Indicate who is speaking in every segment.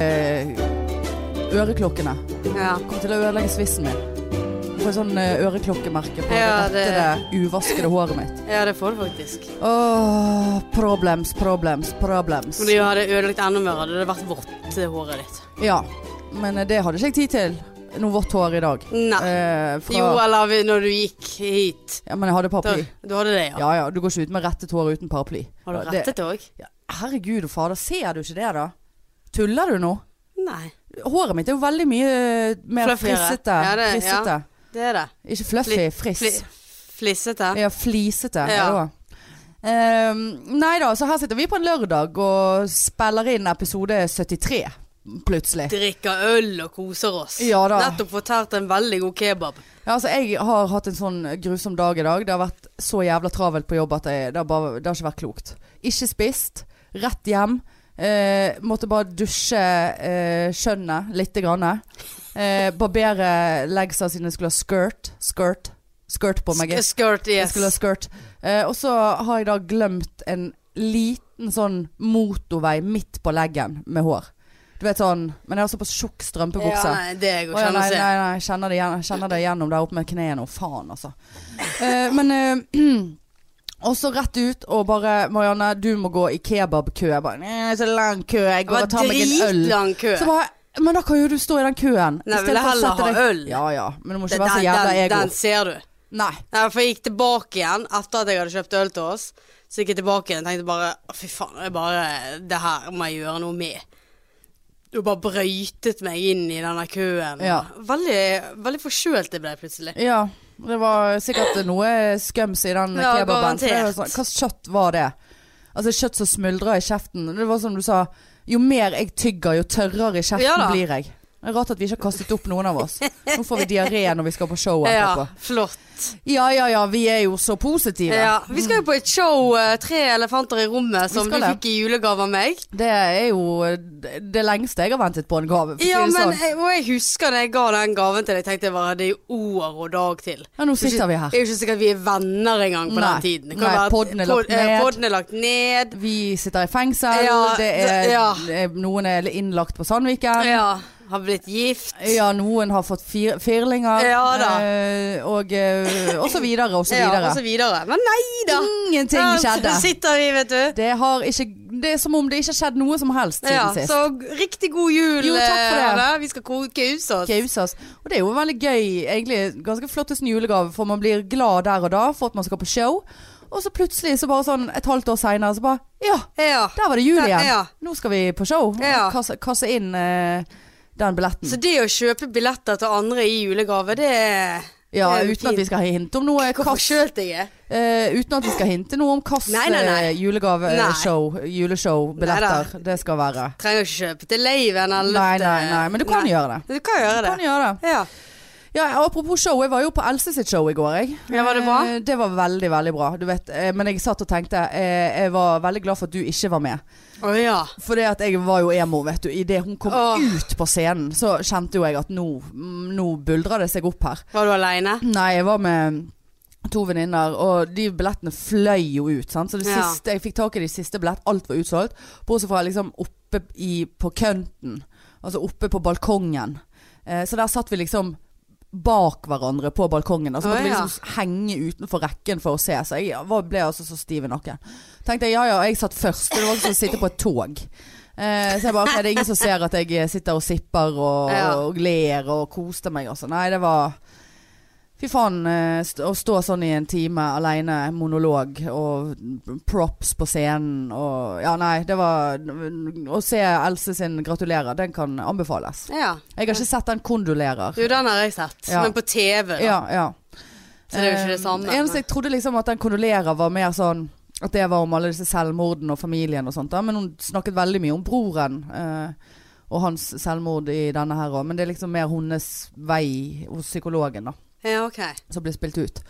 Speaker 1: Eh, øreklokkene.
Speaker 2: Ja.
Speaker 1: Kommer til å ødelegge svissen min. Får sånn eh, øreklokkemerke på
Speaker 2: Ja,
Speaker 1: det rettede, uvaskede håret mitt.
Speaker 2: ja, det får du faktisk.
Speaker 1: Åh, problems, problems, problems.
Speaker 2: Men det hadde ødelagt enda mer, hadde det vært vått eh, håret ditt.
Speaker 1: Ja, men eh, det hadde ikke jeg tid til. Noe vått hår i dag.
Speaker 2: Nei.
Speaker 1: Eh, fra,
Speaker 2: Jo, eller vi- når du gikk hit.
Speaker 1: Ja, men jeg hadde
Speaker 2: Da,
Speaker 1: paraply.
Speaker 2: du hadde det, ja.
Speaker 1: Ja ja, du går ikke ut med rettet hår uten paraply.
Speaker 2: Har du
Speaker 1: Ja, det-
Speaker 2: rettet det òg?
Speaker 1: Herregud og fader, ser du ikke det da? Tuller du nå?
Speaker 2: Nei.
Speaker 1: Håret mitt er jo veldig mye eh, mer
Speaker 2: Fluffigere.
Speaker 1: frissete.
Speaker 2: Ja, det- ja.
Speaker 1: frissete.
Speaker 2: Det er det.
Speaker 1: Ikke fluffy, friss.
Speaker 2: Fli flissete.
Speaker 1: Ja, flisete. Ja.
Speaker 2: Ja.
Speaker 1: da. Ehm, nei da, så her sitter vi på en lørdag og spiller inn episode 73, plutselig.
Speaker 2: Drikker øl og koser oss.
Speaker 1: Ja da.
Speaker 2: Nettopp fortært en veldig god kebab.
Speaker 1: Ja, altså, jeg har hatt en sånn grusom dag i dag. Det har vært så jævla travelt på jobb at jeg, det, har bare, det har ikke vært klokt. Ikke spist. Rett hjem. Eh, måtte bare dusje eh, skjønnet lite grann. Eh, barbere leggsa siden jeg skulle ha skirt. Skirt. Skirt på meg.
Speaker 2: Sk- Skirt,
Speaker 1: Jeg
Speaker 2: yes.
Speaker 1: skulle ha skirt. Eh, og så har jeg da glemt en liten sånn motorvei midt på leggen med hår. Du vet sånn Men jeg har såpass tjukk strømpebukse.
Speaker 2: Ja, nei, det går
Speaker 1: Å, ja,
Speaker 2: ikke an å
Speaker 1: nei,
Speaker 2: se.
Speaker 1: nei, nei, jeg kjenner det, igjen, jeg kjenner det igjennom der oppe med kneet nå. Faen, altså. Eh, men eh, Og så rett ut og bare Marianne, du må gå i kebabkø. Jeg bare «Nei, Så lang kø. Jeg
Speaker 2: Det
Speaker 1: går
Speaker 2: var
Speaker 1: og tar meg en øl.
Speaker 2: dritlang kø.
Speaker 1: Så bare, men da kan jo du stå i den køen.
Speaker 2: Nei,
Speaker 1: I stedet
Speaker 2: vil jeg
Speaker 1: for å
Speaker 2: heller
Speaker 1: sette
Speaker 2: ha
Speaker 1: deg-
Speaker 2: øl?
Speaker 1: Ja ja, men du må
Speaker 2: Det-
Speaker 1: ikke være så jævla
Speaker 2: den,
Speaker 1: ego.
Speaker 2: den ser du.
Speaker 1: Nei.
Speaker 2: Nei, for jeg gikk tilbake igjen etter at jeg hadde kjøpt øl til oss. Så gikk jeg tilbake igjen og tenkte bare «Å, fy faen, det, er bare, det her må jeg gjøre noe med. Du bare brøytet meg inn i denne køen.
Speaker 1: Ja.
Speaker 2: Veldig, veldig forkjølt jeg ble plutselig.
Speaker 1: Ja, det var sikkert noe skums i den
Speaker 2: Ja,
Speaker 1: kebaben. for det var
Speaker 2: garantert.
Speaker 1: Sånn, hva slags kjøtt var det? Altså kjøtt som smuldrer i kjeften. Det var som du sa, jo mer jeg tygger, jo tørrere i kjeften
Speaker 2: Ja da.
Speaker 1: blir jeg. Det er Rart at vi ikke har kastet opp noen av oss. Nå får vi diaré når vi skal på show
Speaker 2: Ja,
Speaker 1: etterpå.
Speaker 2: flott.
Speaker 1: Ja ja ja, vi er jo så positive.
Speaker 2: Ja, vi skal jo på et show, eh, Tre elefanter i rommet, som du
Speaker 1: skal det.
Speaker 2: fikk i julegave av meg.
Speaker 1: Det er jo det lengste jeg har ventet på en gave. For å si
Speaker 2: Ja,
Speaker 1: det
Speaker 2: men,
Speaker 1: sånn.
Speaker 2: jeg, og jeg husker da jeg ga den gaven til deg, tenkte jeg bare det er jo år og dag til.
Speaker 1: Ja, nå
Speaker 2: Det er ikke-
Speaker 1: sitter vi her.
Speaker 2: Det er jo ikke sikkert vi er venner engang
Speaker 1: Nei.
Speaker 2: på den tiden. Det
Speaker 1: Nei,
Speaker 2: være at
Speaker 1: podden er
Speaker 2: pod-
Speaker 1: lagt
Speaker 2: eh,
Speaker 1: ned.
Speaker 2: podden er lagt ned.
Speaker 1: Vi sitter i fengsel,
Speaker 2: Ja,
Speaker 1: det er,
Speaker 2: det- ja.
Speaker 1: eh, noen er innlagt på Sandviken.
Speaker 2: Ja, har blitt gift.
Speaker 1: Ja, noen har fått fir firlinger.
Speaker 2: Ja da.
Speaker 1: eh, og, eh, og så videre, og så
Speaker 2: Ja,
Speaker 1: videre.
Speaker 2: og så videre. Men nei da!
Speaker 1: Ingenting
Speaker 2: Her
Speaker 1: skjedde.
Speaker 2: sitter vi, vet du.
Speaker 1: Det, har ikke, det er som om det ikke har skjedd noe som helst siden
Speaker 2: Ja,
Speaker 1: sist.
Speaker 2: så riktig god jul. eh,
Speaker 1: Jo, takk for det.
Speaker 2: Anna. Vi skal koke hus oss.
Speaker 1: Kausas. Og det er jo veldig gøy, egentlig ganske flottest julegave, for man blir glad der og da for at man skal på show. Og så plutselig, så bare sånn et halvt år seinere, så bare Ja,
Speaker 2: Ja.
Speaker 1: der var det jul
Speaker 2: Ja,
Speaker 1: igjen.
Speaker 2: ja.
Speaker 1: Nå skal vi på show.
Speaker 2: Ja.
Speaker 1: Kasse, kasse inn eh, den billetten.
Speaker 2: Så det å kjøpe billetter til andre i julegave, det er
Speaker 1: ja,
Speaker 2: det er jo
Speaker 1: uten at vi
Speaker 2: fint.
Speaker 1: skal hinte om noe.
Speaker 2: Hvor forkjølt jeg er.
Speaker 1: Eh, uten at vi skal hinte noe om kasse,
Speaker 2: Nei, nei, nei.
Speaker 1: julegave, eh,
Speaker 2: Nei.
Speaker 1: show, juleshow, billetter. Det skal være.
Speaker 2: Trenger ikke kjøpe til laven eller
Speaker 1: Nei, nei, nei. Men du kan gjøre det.
Speaker 2: Du kan
Speaker 1: Du
Speaker 2: gjøre det.
Speaker 1: kan gjøre det.
Speaker 2: Ja.
Speaker 1: Ja, apropos show, jeg var jo på Else sitt show i går, jeg.
Speaker 2: Ja, var det bra?
Speaker 1: Eh, Det var veldig, veldig bra. Du vet, eh, men jeg satt og tenkte eh, Jeg var veldig glad for at du ikke var med.
Speaker 2: Å ja.
Speaker 1: For det at jeg var jo emo, vet du. Idet hun kom
Speaker 2: Åh.
Speaker 1: ut på scenen, så kjente jo jeg at nå, mm, nå buldrer det seg opp her.
Speaker 2: Var du aleine?
Speaker 1: Nei, jeg var med to venninner, og de billettene fløy jo ut. Sant? Så det
Speaker 2: Ja.
Speaker 1: siste, jeg fikk tak i de siste billett, alt var utsolgt. Bortsett fra liksom oppe i, på kønten, altså oppe på balkongen. Eh, så der satt vi liksom bak hverandre på balkongen. da. Så
Speaker 2: Å,
Speaker 1: måtte vi
Speaker 2: ja.
Speaker 1: liksom henge utenfor rekken for å se. Så jeg var, ble altså så stiv i nakken. Tenkte jeg ja ja, jeg satt først. Det var ikke som å sitte på et tog. Eh, så jeg bare, ok, det er ingen som ser at jeg sitter og sipper og,
Speaker 2: Ja.
Speaker 1: og ler og koser meg altså. Nei, det var Fy faen, eh, st å stå sånn i en time alene, monolog og props på scenen og Ja, nei, det var Å se Else sin 'Gratulerer', den kan anbefales.
Speaker 2: Ja.
Speaker 1: Jeg har ikke sett den 'Kondolerer'.
Speaker 2: Jo, den har jeg sett.
Speaker 1: Ja.
Speaker 2: Men på TV, da.
Speaker 1: Ja, ja.
Speaker 2: Så det er jo ikke det samme.
Speaker 1: Eh, eneste jeg trodde liksom at den 'Kondolerer' var mer sånn at det var om alle disse selvmordene og familien og sånt, da. men hun snakket veldig mye om broren. eh, og hans selvmord i denne her òg, men det er liksom mer hennes vei hos psykologen, da
Speaker 2: Ja, ok.
Speaker 1: som ble spilt ut.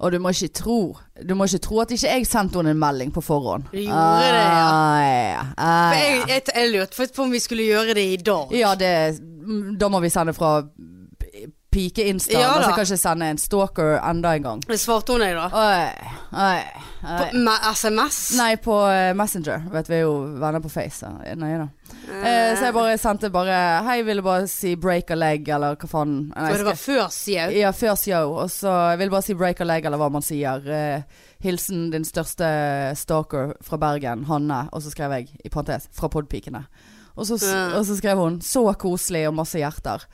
Speaker 1: Og du må ikke tro Du må ikke tro at ikke jeg sendte henne en melding på forhånd.
Speaker 2: Du gjorde det, ja.
Speaker 1: ja. Ah,
Speaker 2: For jeg,
Speaker 1: ja.
Speaker 2: jeg, jeg lurte faktisk på om vi skulle gjøre det i dag.
Speaker 1: ja det, mm, da må vi sende fra pike Insta.
Speaker 2: Ja
Speaker 1: så
Speaker 2: da.
Speaker 1: jeg kan ikke sende en stalker enda en gang.
Speaker 2: Svarte hun deg, da?
Speaker 1: Oi, oi,
Speaker 2: På,
Speaker 1: oi.
Speaker 2: med SMS?
Speaker 1: Nei, på eh, Messenger. Vet vi er jo venner på Face. så jeg er Nøye, da. Eh, så jeg bare sendte bare Hei, ville bare si break a leg, eller hva faen. Nei,
Speaker 2: For
Speaker 1: jeg
Speaker 2: det var før Sjau.
Speaker 1: Ja, før show. Og så jeg vil bare si break a leg, eller hva man sier. Eh, hilsen din største stalker fra Bergen, Hanne. Og så skrev jeg, i parentes, fra Podpikene. Og så,
Speaker 2: Ja.
Speaker 1: og så skrev hun 'så koselig' og masse hjerter.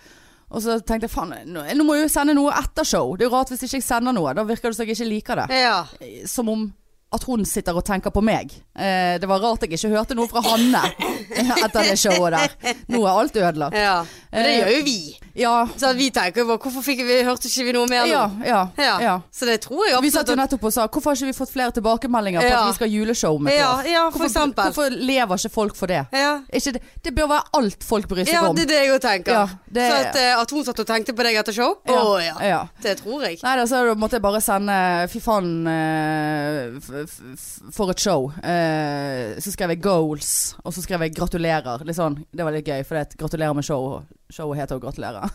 Speaker 1: Og så tenkte jeg faen, nå, nå må jeg jo sende noe etter show. Det er jo rart hvis ikke jeg sender noe. Da virker det som jeg ikke liker det.
Speaker 2: Ja.
Speaker 1: Eh, Som om at hun sitter og tenker på meg. Eh, det var rart jeg ikke hørte noe fra Hanne etter det showet der. Nå er alt ødelagt.
Speaker 2: ja. Men det
Speaker 1: Eh,
Speaker 2: gjør jo vi.
Speaker 1: Ja.
Speaker 2: Så vi tenker jo bare Hvorfor fikk vi, hørte ikke vi noe mer nå?
Speaker 1: Ja, ja,
Speaker 2: Ja.
Speaker 1: ja.
Speaker 2: Så det tror jeg
Speaker 1: Vi satt jo
Speaker 2: at-
Speaker 1: nettopp og sa Hvorfor har ikke vi fått flere tilbakemeldinger på
Speaker 2: Ja.
Speaker 1: at vi skal ha juleshow med
Speaker 2: Ja,
Speaker 1: Kåre?
Speaker 2: ja, for
Speaker 1: hvorfor,
Speaker 2: eksempel.
Speaker 1: hvorfor lever ikke folk for det?
Speaker 2: ja.
Speaker 1: Ikke det? det bør være alt folk bryr seg
Speaker 2: ja,
Speaker 1: om.
Speaker 2: det er det jeg òg tenker.
Speaker 1: Ja, det-
Speaker 2: Så at, eh, at hun satt og tenkte på deg etter show? Å ja.
Speaker 1: ja.
Speaker 2: Det tror jeg.
Speaker 1: Nei, altså, da så måtte jeg bare sende Fy faen eh, f- f- for et show. Eh, så skrev jeg 'goals', og så skrev jeg 'gratulerer'. Litt sånn, det var litt gøy, for det er et 'gratulerer med show'. Showet heter jo 'Gratulerer'.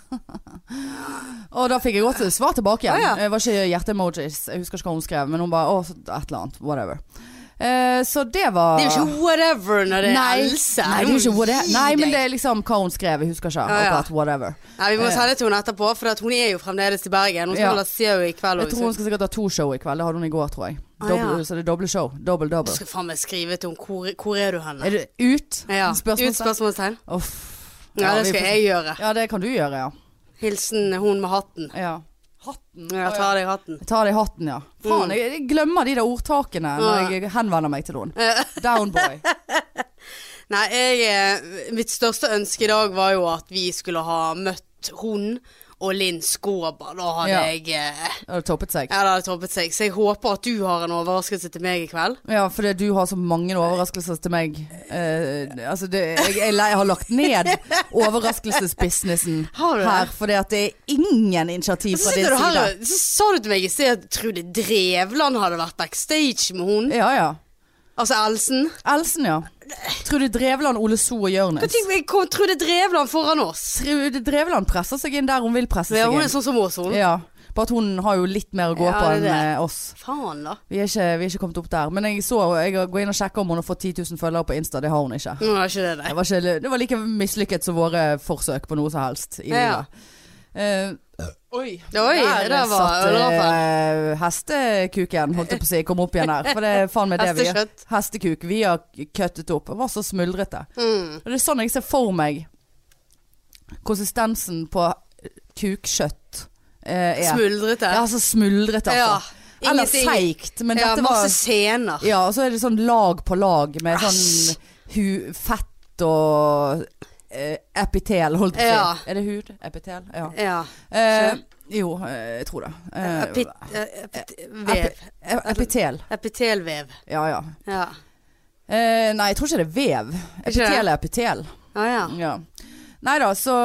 Speaker 1: og da fikk jeg godt svar tilbake igjen.
Speaker 2: Ah, ja.
Speaker 1: Det var ikke hjerte-emojis, jeg husker ikke hva hun skrev, men hun bare 'å, så- et eller annet'. Whatever. Eh, så det var
Speaker 2: Det er jo ikke whatever når det er
Speaker 1: Nei,
Speaker 2: Else.
Speaker 1: nei, det er jo ikke whatever.
Speaker 2: Gi
Speaker 1: Nei, men
Speaker 2: deg.
Speaker 1: det er liksom hva hun skrev. Jeg husker ikke.
Speaker 2: Ja, ja.
Speaker 1: Akkurat whatever.
Speaker 2: Nei, Vi må sende til henne etterpå, for at hun er jo fremdeles i Bergen. Hun
Speaker 1: Eh. Ja.
Speaker 2: skal holde Sjau i kveld.
Speaker 1: Jeg tror hun skal sikkert ha to show i kveld. Det hadde hun i går, tror jeg.
Speaker 2: Ah,
Speaker 1: Dobbel-
Speaker 2: ja.
Speaker 1: Så det er doble show. Double, double.
Speaker 2: Du skal faen meg skrive til henne. Hvor, hvor er du henne?
Speaker 1: Er det ut?
Speaker 2: Ja. Ut
Speaker 1: Spørsmål?
Speaker 2: spørsmålstegn?
Speaker 1: Uff.
Speaker 2: Ja, det
Speaker 1: vi
Speaker 2: skal
Speaker 1: får-
Speaker 2: jeg gjøre.
Speaker 1: Ja, det kan du gjøre, ja.
Speaker 2: Hilsen hun med hatten.
Speaker 1: ja. Hatten.
Speaker 2: Ja, Jeg tar deg hatten.
Speaker 1: Jeg tar det i hatten, ja. Faen,
Speaker 2: Mm.
Speaker 1: jeg, jeg glemmer de der ordtakene når jeg henvender meg til noen. Downboy.
Speaker 2: Nei, jeg, eh, mitt største ønske i dag var jo at vi skulle ha møtt hun og Linn Skåber. Da hadde
Speaker 1: Ja.
Speaker 2: jeg eh,
Speaker 1: Det hadde toppet seg.
Speaker 2: Ja, det hadde toppet seg. Så jeg håper at du har en overraskelse til meg i kveld.
Speaker 1: Ja, fordi du har så mange overraskelser til meg. Eh, altså, det, jeg, jeg, jeg har lagt ned overraskelsesbusinessen
Speaker 2: Har du det?
Speaker 1: her, fordi at det er ingen initiativ
Speaker 2: Så
Speaker 1: fra din
Speaker 2: sitter du her
Speaker 1: side.
Speaker 2: og så sa du til meg i sted at Trude Drevland hadde vært backstage med hun.
Speaker 1: Ja, ja.
Speaker 2: Altså Elsen.
Speaker 1: Elsen, ja. Trude Drevland, Ole So og Jørnes.
Speaker 2: Tenk, jeg kom Trude Drevland foran oss.
Speaker 1: Trude Drevland presser seg inn der hun vil presse
Speaker 2: Ja,
Speaker 1: seg
Speaker 2: hun er
Speaker 1: inn.
Speaker 2: sånn som oss, hun.
Speaker 1: Ja, bare at hun har jo litt mer å gå
Speaker 2: Ja,
Speaker 1: på
Speaker 2: det er
Speaker 1: enn
Speaker 2: det.
Speaker 1: eh, oss.
Speaker 2: Faen, da.
Speaker 1: Vi er, ikke, vi er ikke kommet opp der. Men jeg så, jeg går inn og sjekker om hun har fått 10 000 følgere på Insta. Det har hun ikke.
Speaker 2: Nå er ikke det
Speaker 1: Det
Speaker 2: det.
Speaker 1: var, ikke, det var like mislykket som våre forsøk på noe som helst i
Speaker 2: Ja.
Speaker 1: livet. Eh, oi,
Speaker 2: Oi, det der var
Speaker 1: eh, hestekuken, holdt jeg på å si, kom opp igjen her. For det er faen meg det vi er.
Speaker 2: Hestekjøtt.
Speaker 1: Hestekuk. Vi har kuttet opp. Det var så smuldrete.
Speaker 2: Mm.
Speaker 1: Og Det er sånn jeg ser for meg konsistensen på kukkjøtt eh, er.
Speaker 2: Smuldrete.
Speaker 1: Ja, så smuldrete,
Speaker 2: Ja,
Speaker 1: altså. Eller
Speaker 2: ingenting.
Speaker 1: seigt. Men
Speaker 2: Ja,
Speaker 1: dette
Speaker 2: masse
Speaker 1: var
Speaker 2: scener.
Speaker 1: Ja, og så er det sånn lag på lag med
Speaker 2: Æsj.
Speaker 1: sånn hu fett og eh, epitel, holdt jeg på å
Speaker 2: Ja.
Speaker 1: si. Er det hud? Epitel? Ja.
Speaker 2: Ja.
Speaker 1: Eh, jo, eh, jeg tror det. Eh,
Speaker 2: Epit... epit- Vev.
Speaker 1: ep- epitel.
Speaker 2: Epitelvev.
Speaker 1: Ja, ja.
Speaker 2: Ja.
Speaker 1: Eh, nei, jeg tror ikke det er vev.
Speaker 2: Ikke det?
Speaker 1: Epitel er epitel.
Speaker 2: Ja, ja.
Speaker 1: Ja. Nei da, så,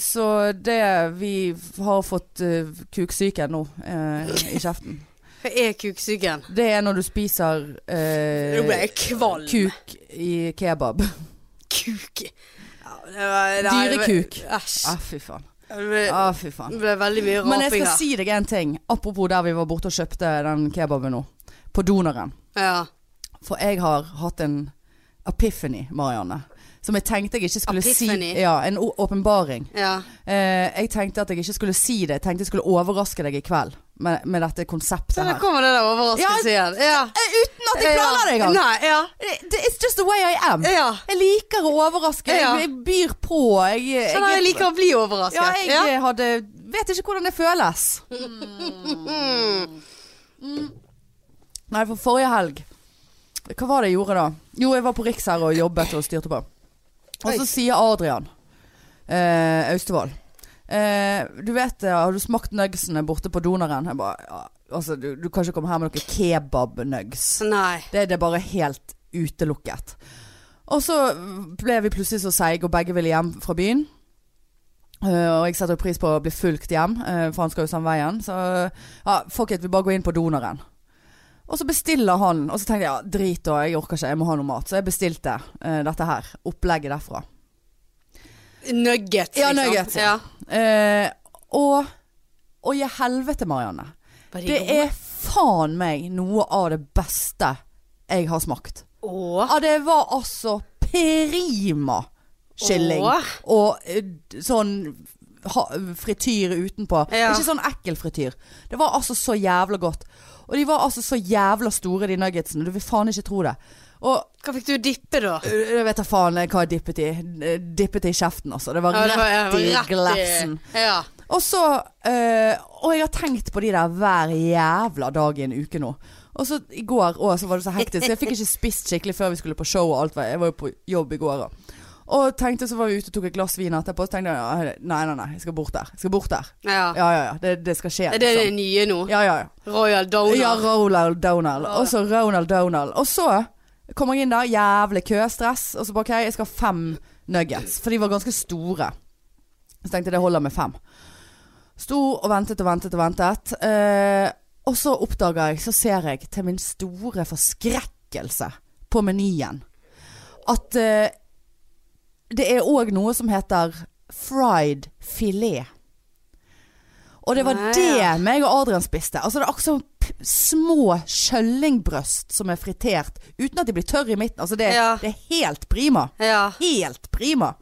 Speaker 1: så det Vi har fått uh, kuksyke nå eh, i kjeften.
Speaker 2: Hva er kuksugen?
Speaker 1: Det er når du spiser eh,
Speaker 2: Nå ble jeg kvalm.
Speaker 1: kuk i kebab.
Speaker 2: Kuk. Ja, det var- nei, det var-
Speaker 1: Dyrekuk.
Speaker 2: Æsj.
Speaker 1: Ah, fy faen.
Speaker 2: Det ble-
Speaker 1: Ah, fy faen.
Speaker 2: det ble veldig mye
Speaker 1: Men jeg
Speaker 2: raping
Speaker 1: skal
Speaker 2: her.
Speaker 1: si deg en ting. Apropos der vi var borte og kjøpte den kebaben nå. På Doneren.
Speaker 2: Ja.
Speaker 1: For jeg har hatt en epiphany, Marianne. Som jeg tenkte jeg ikke skulle
Speaker 2: Epiphany?
Speaker 1: si. Ja, en å- åpenbaring.
Speaker 2: ja.
Speaker 1: Eh, jeg tenkte at jeg ikke skulle si det. Jeg tenkte jeg skulle overraske deg i kveld med, med dette konseptet
Speaker 2: Så der
Speaker 1: her.
Speaker 2: kommer det der overraskelsen igjen. Ja.
Speaker 1: Eh, Uten at jeg planla det engang! Eh,
Speaker 2: Nei, ja.
Speaker 1: Det- det- It's just the way I am.
Speaker 2: ja.
Speaker 1: Jeg liker å overraske.
Speaker 2: Ja.
Speaker 1: Jeg, jeg byr på. Jeg, jeg,
Speaker 2: Sånn jeg liker å bli overrasket.
Speaker 1: ja, jeg eh, hadde Vet ikke hvordan det føles. Nei, for forrige helg Hva var det jeg gjorde da? Jo, jeg var på Riks her og jobbet og styrte på. Og
Speaker 2: Oi.
Speaker 1: så sier Adrian eh, Austevoll eh, Du vet, eh, har du smakt nugsene borte på doneren? Jeg bare, ja, altså, du, du kan ikke komme her med noen kebab-nugs.
Speaker 2: Nei.
Speaker 1: Det, det er bare helt utelukket. Og så ble vi plutselig så seige, og begge ville hjem fra byen. Eh, og jeg setter jo pris på å bli fulgt hjem, eh, for han skal jo samme veien. Så ja, fuck it, vi bare går inn på doneren. Og så bestiller han, og så tenkte jeg ja, drit da, jeg orker ikke, jeg må ha noe mat. Så jeg bestilte eh, dette her, opplegget derfra.
Speaker 2: Nuggets,
Speaker 1: Ja,
Speaker 2: liksom.
Speaker 1: nuggets, ja.
Speaker 2: Ja.
Speaker 1: Eh, Og Å, i helvete, Marianne.
Speaker 2: Var de
Speaker 1: Det
Speaker 2: gode?
Speaker 1: er faen meg noe av det beste jeg har smakt.
Speaker 2: Åh.
Speaker 1: Ja, det var altså prima kylling.
Speaker 2: Åh.
Speaker 1: Og eh, d- sånn ha, frityr utenpå.
Speaker 2: Ja.
Speaker 1: Ikke sånn ekkel frityr. Det var altså så jævla godt. Og de var altså så jævla store, de nuggetsene. Du vil faen ikke tro det. Og
Speaker 2: Hva fikk du dippe, da?
Speaker 1: øh, jeg vet da faen hva jeg dippet i. Eh, Dippet i kjeften, altså. Det var
Speaker 2: Ja, det
Speaker 1: rett
Speaker 2: var- ja,
Speaker 1: i
Speaker 2: det var rett i-
Speaker 1: glassen.
Speaker 2: Ja.
Speaker 1: Og så eh, Og jeg har tenkt på de der hver jævla dag i en uke nå. Og så i går òg, så var det så hektisk. Så jeg fikk ikke spist skikkelig før vi skulle på show og alt. var- Jeg var jo på jobb i går òg. Og tenkte så var vi ute og tok et glass vin etterpå. Så tenkte jeg ja, nei, nei, nei, jeg skal bort der. Jeg skal bort der.
Speaker 2: ja.
Speaker 1: Ja, ja, ja. Det, det skal skje.
Speaker 2: Er Ah. det
Speaker 1: liksom.
Speaker 2: det nye nå?
Speaker 1: Ja, ja, ja.
Speaker 2: Royal Donor?
Speaker 1: Ja, Ronald Donald.
Speaker 2: Ja.
Speaker 1: Og så Ronald Donald. Og så kommer jeg inn der, jævlig kø, stress. Og så bare OK, jeg skal ha fem nuggets. For de var ganske store. Så tenkte jeg det holder med fem. Sto og ventet og ventet og ventet. Eh, og så oppdager jeg, så ser jeg til min store forskrekkelse på menyen at eh, det er òg noe som heter fried filet. Og det var
Speaker 2: Nei, ja.
Speaker 1: det Eh, meg og Adrian spiste. Altså Det er akkurat som p- små kjøllingbrøst som er fritert, uten at de blir tørre i midten. Altså Det,
Speaker 2: Ja.
Speaker 1: det er helt prima.
Speaker 2: Ja.
Speaker 1: Helt prima.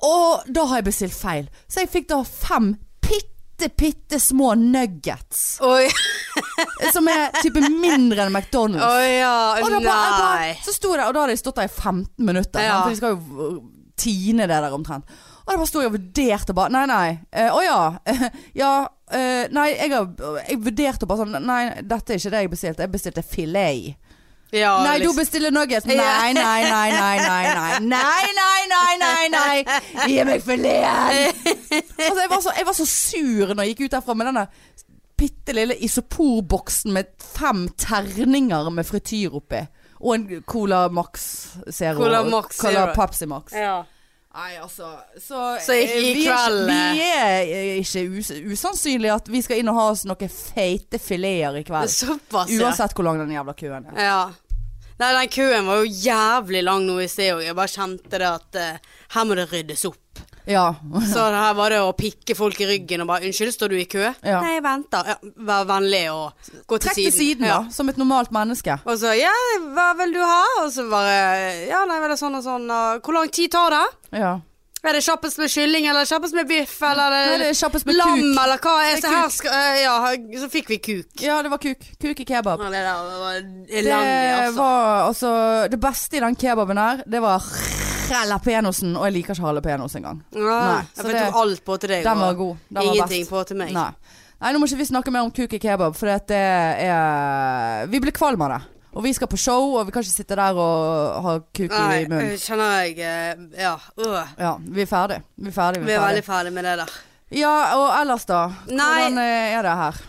Speaker 1: Og da har jeg bestilt feil. Så jeg fikk da fem bitte, bitte små nuggets. eh,
Speaker 2: Oi,
Speaker 1: Som er type mindre enn McDonald's.
Speaker 2: Å ja.
Speaker 1: Og da
Speaker 2: Nei.
Speaker 1: bare, jeg bare, så sto det, og da hadde jeg stått der i 15 minutter.
Speaker 2: Ja.
Speaker 1: sant? For de skal jo øh, tine det der omtrent. Og da bare sto jeg og vurderte bare Nei, nei. eh, Å ja. eh, ja. eh, nei, jeg, har- jeg vurderte bare sånn Nei, dette er ikke det jeg bestilte. Jeg bestilte filet.
Speaker 2: ja,
Speaker 1: Nei, du
Speaker 2: liksom.
Speaker 1: bestiller nuggets. Nei,
Speaker 2: Ja.
Speaker 1: nei, nei, nei, nei, nei. Nei, nei, nei, nei, nei. Gi meg fileten. Altså, jeg var, så, jeg var så sur når jeg gikk ut derfra med denne bitte lille isoporboksen med fem terninger med frityr oppi. Og en Cola Max Zero.
Speaker 2: Cola
Speaker 1: og
Speaker 2: Max
Speaker 1: Cola
Speaker 2: Zero.
Speaker 1: Pepsi Max.
Speaker 2: ja.
Speaker 1: Nei, altså Så,
Speaker 2: Så ikke i
Speaker 1: eh, vi er
Speaker 2: kveld, eh.
Speaker 1: Vi er eh, ikke us usannsynlig at vi skal inn og ha oss noen feite fileter i
Speaker 2: Det er
Speaker 1: kveld.
Speaker 2: Såpass, ja.
Speaker 1: Uansett hvor lang den jævla køen er.
Speaker 2: Ja. Nei, den køen var jo jævlig lang nå i sted òg. Jeg bare kjente det at eh, her må det ryddes opp.
Speaker 1: Ja.
Speaker 2: Så det her var det å pikke folk i ryggen og bare 'Unnskyld, står du i kø?'
Speaker 1: Ja.
Speaker 2: 'Nei, jeg venter.' Ja, vær vennlig og gå til
Speaker 1: Trekk
Speaker 2: siden.
Speaker 1: til siden,
Speaker 2: ja.
Speaker 1: da. Som et normalt menneske.
Speaker 2: Og så 'Ja, hva vil du ha?' Og så bare 'Ja, nei, vel, det er sånn og sånn.' Og, 'Hvor lang tid tar det?'
Speaker 1: Ja.
Speaker 2: Er det kjappest med kylling, eller kjappest med biff, eller
Speaker 1: Nei, det er kjappest med
Speaker 2: lam,
Speaker 1: kuk.
Speaker 2: eller hva? er
Speaker 1: Det er
Speaker 2: Så her skal eh, Ja, så fikk vi kuk.
Speaker 1: Ja, det var kuk. Kuk i kebab.
Speaker 2: Ja, det der var
Speaker 1: Det
Speaker 2: elendig, altså.
Speaker 1: var altså Det beste i den kebaben her, det var jalapenosen. Og jeg liker ikke jalapenos engang.
Speaker 2: Nei,
Speaker 1: Nei,
Speaker 2: jeg
Speaker 1: så
Speaker 2: tok
Speaker 1: det-
Speaker 2: alt på til deg.
Speaker 1: Den var
Speaker 2: og
Speaker 1: god. Den var
Speaker 2: Ingenting
Speaker 1: best.
Speaker 2: på til meg.
Speaker 1: Nei. Nei, nå må ikke vi snakke mer om kuk i kebab, for det er Vi blir kvalm av det. Og vi skal på show, og vi kan ikke sitte der og ha kuk i munnen.
Speaker 2: Nei, kjenner jeg eh, Ja. øh.
Speaker 1: Ja, vi er ferdig. Vi er ferdig.
Speaker 2: Vi er veldig ferdig med det der.
Speaker 1: Ja, og ellers da?
Speaker 2: Nei.
Speaker 1: Hvordan eh, er det her?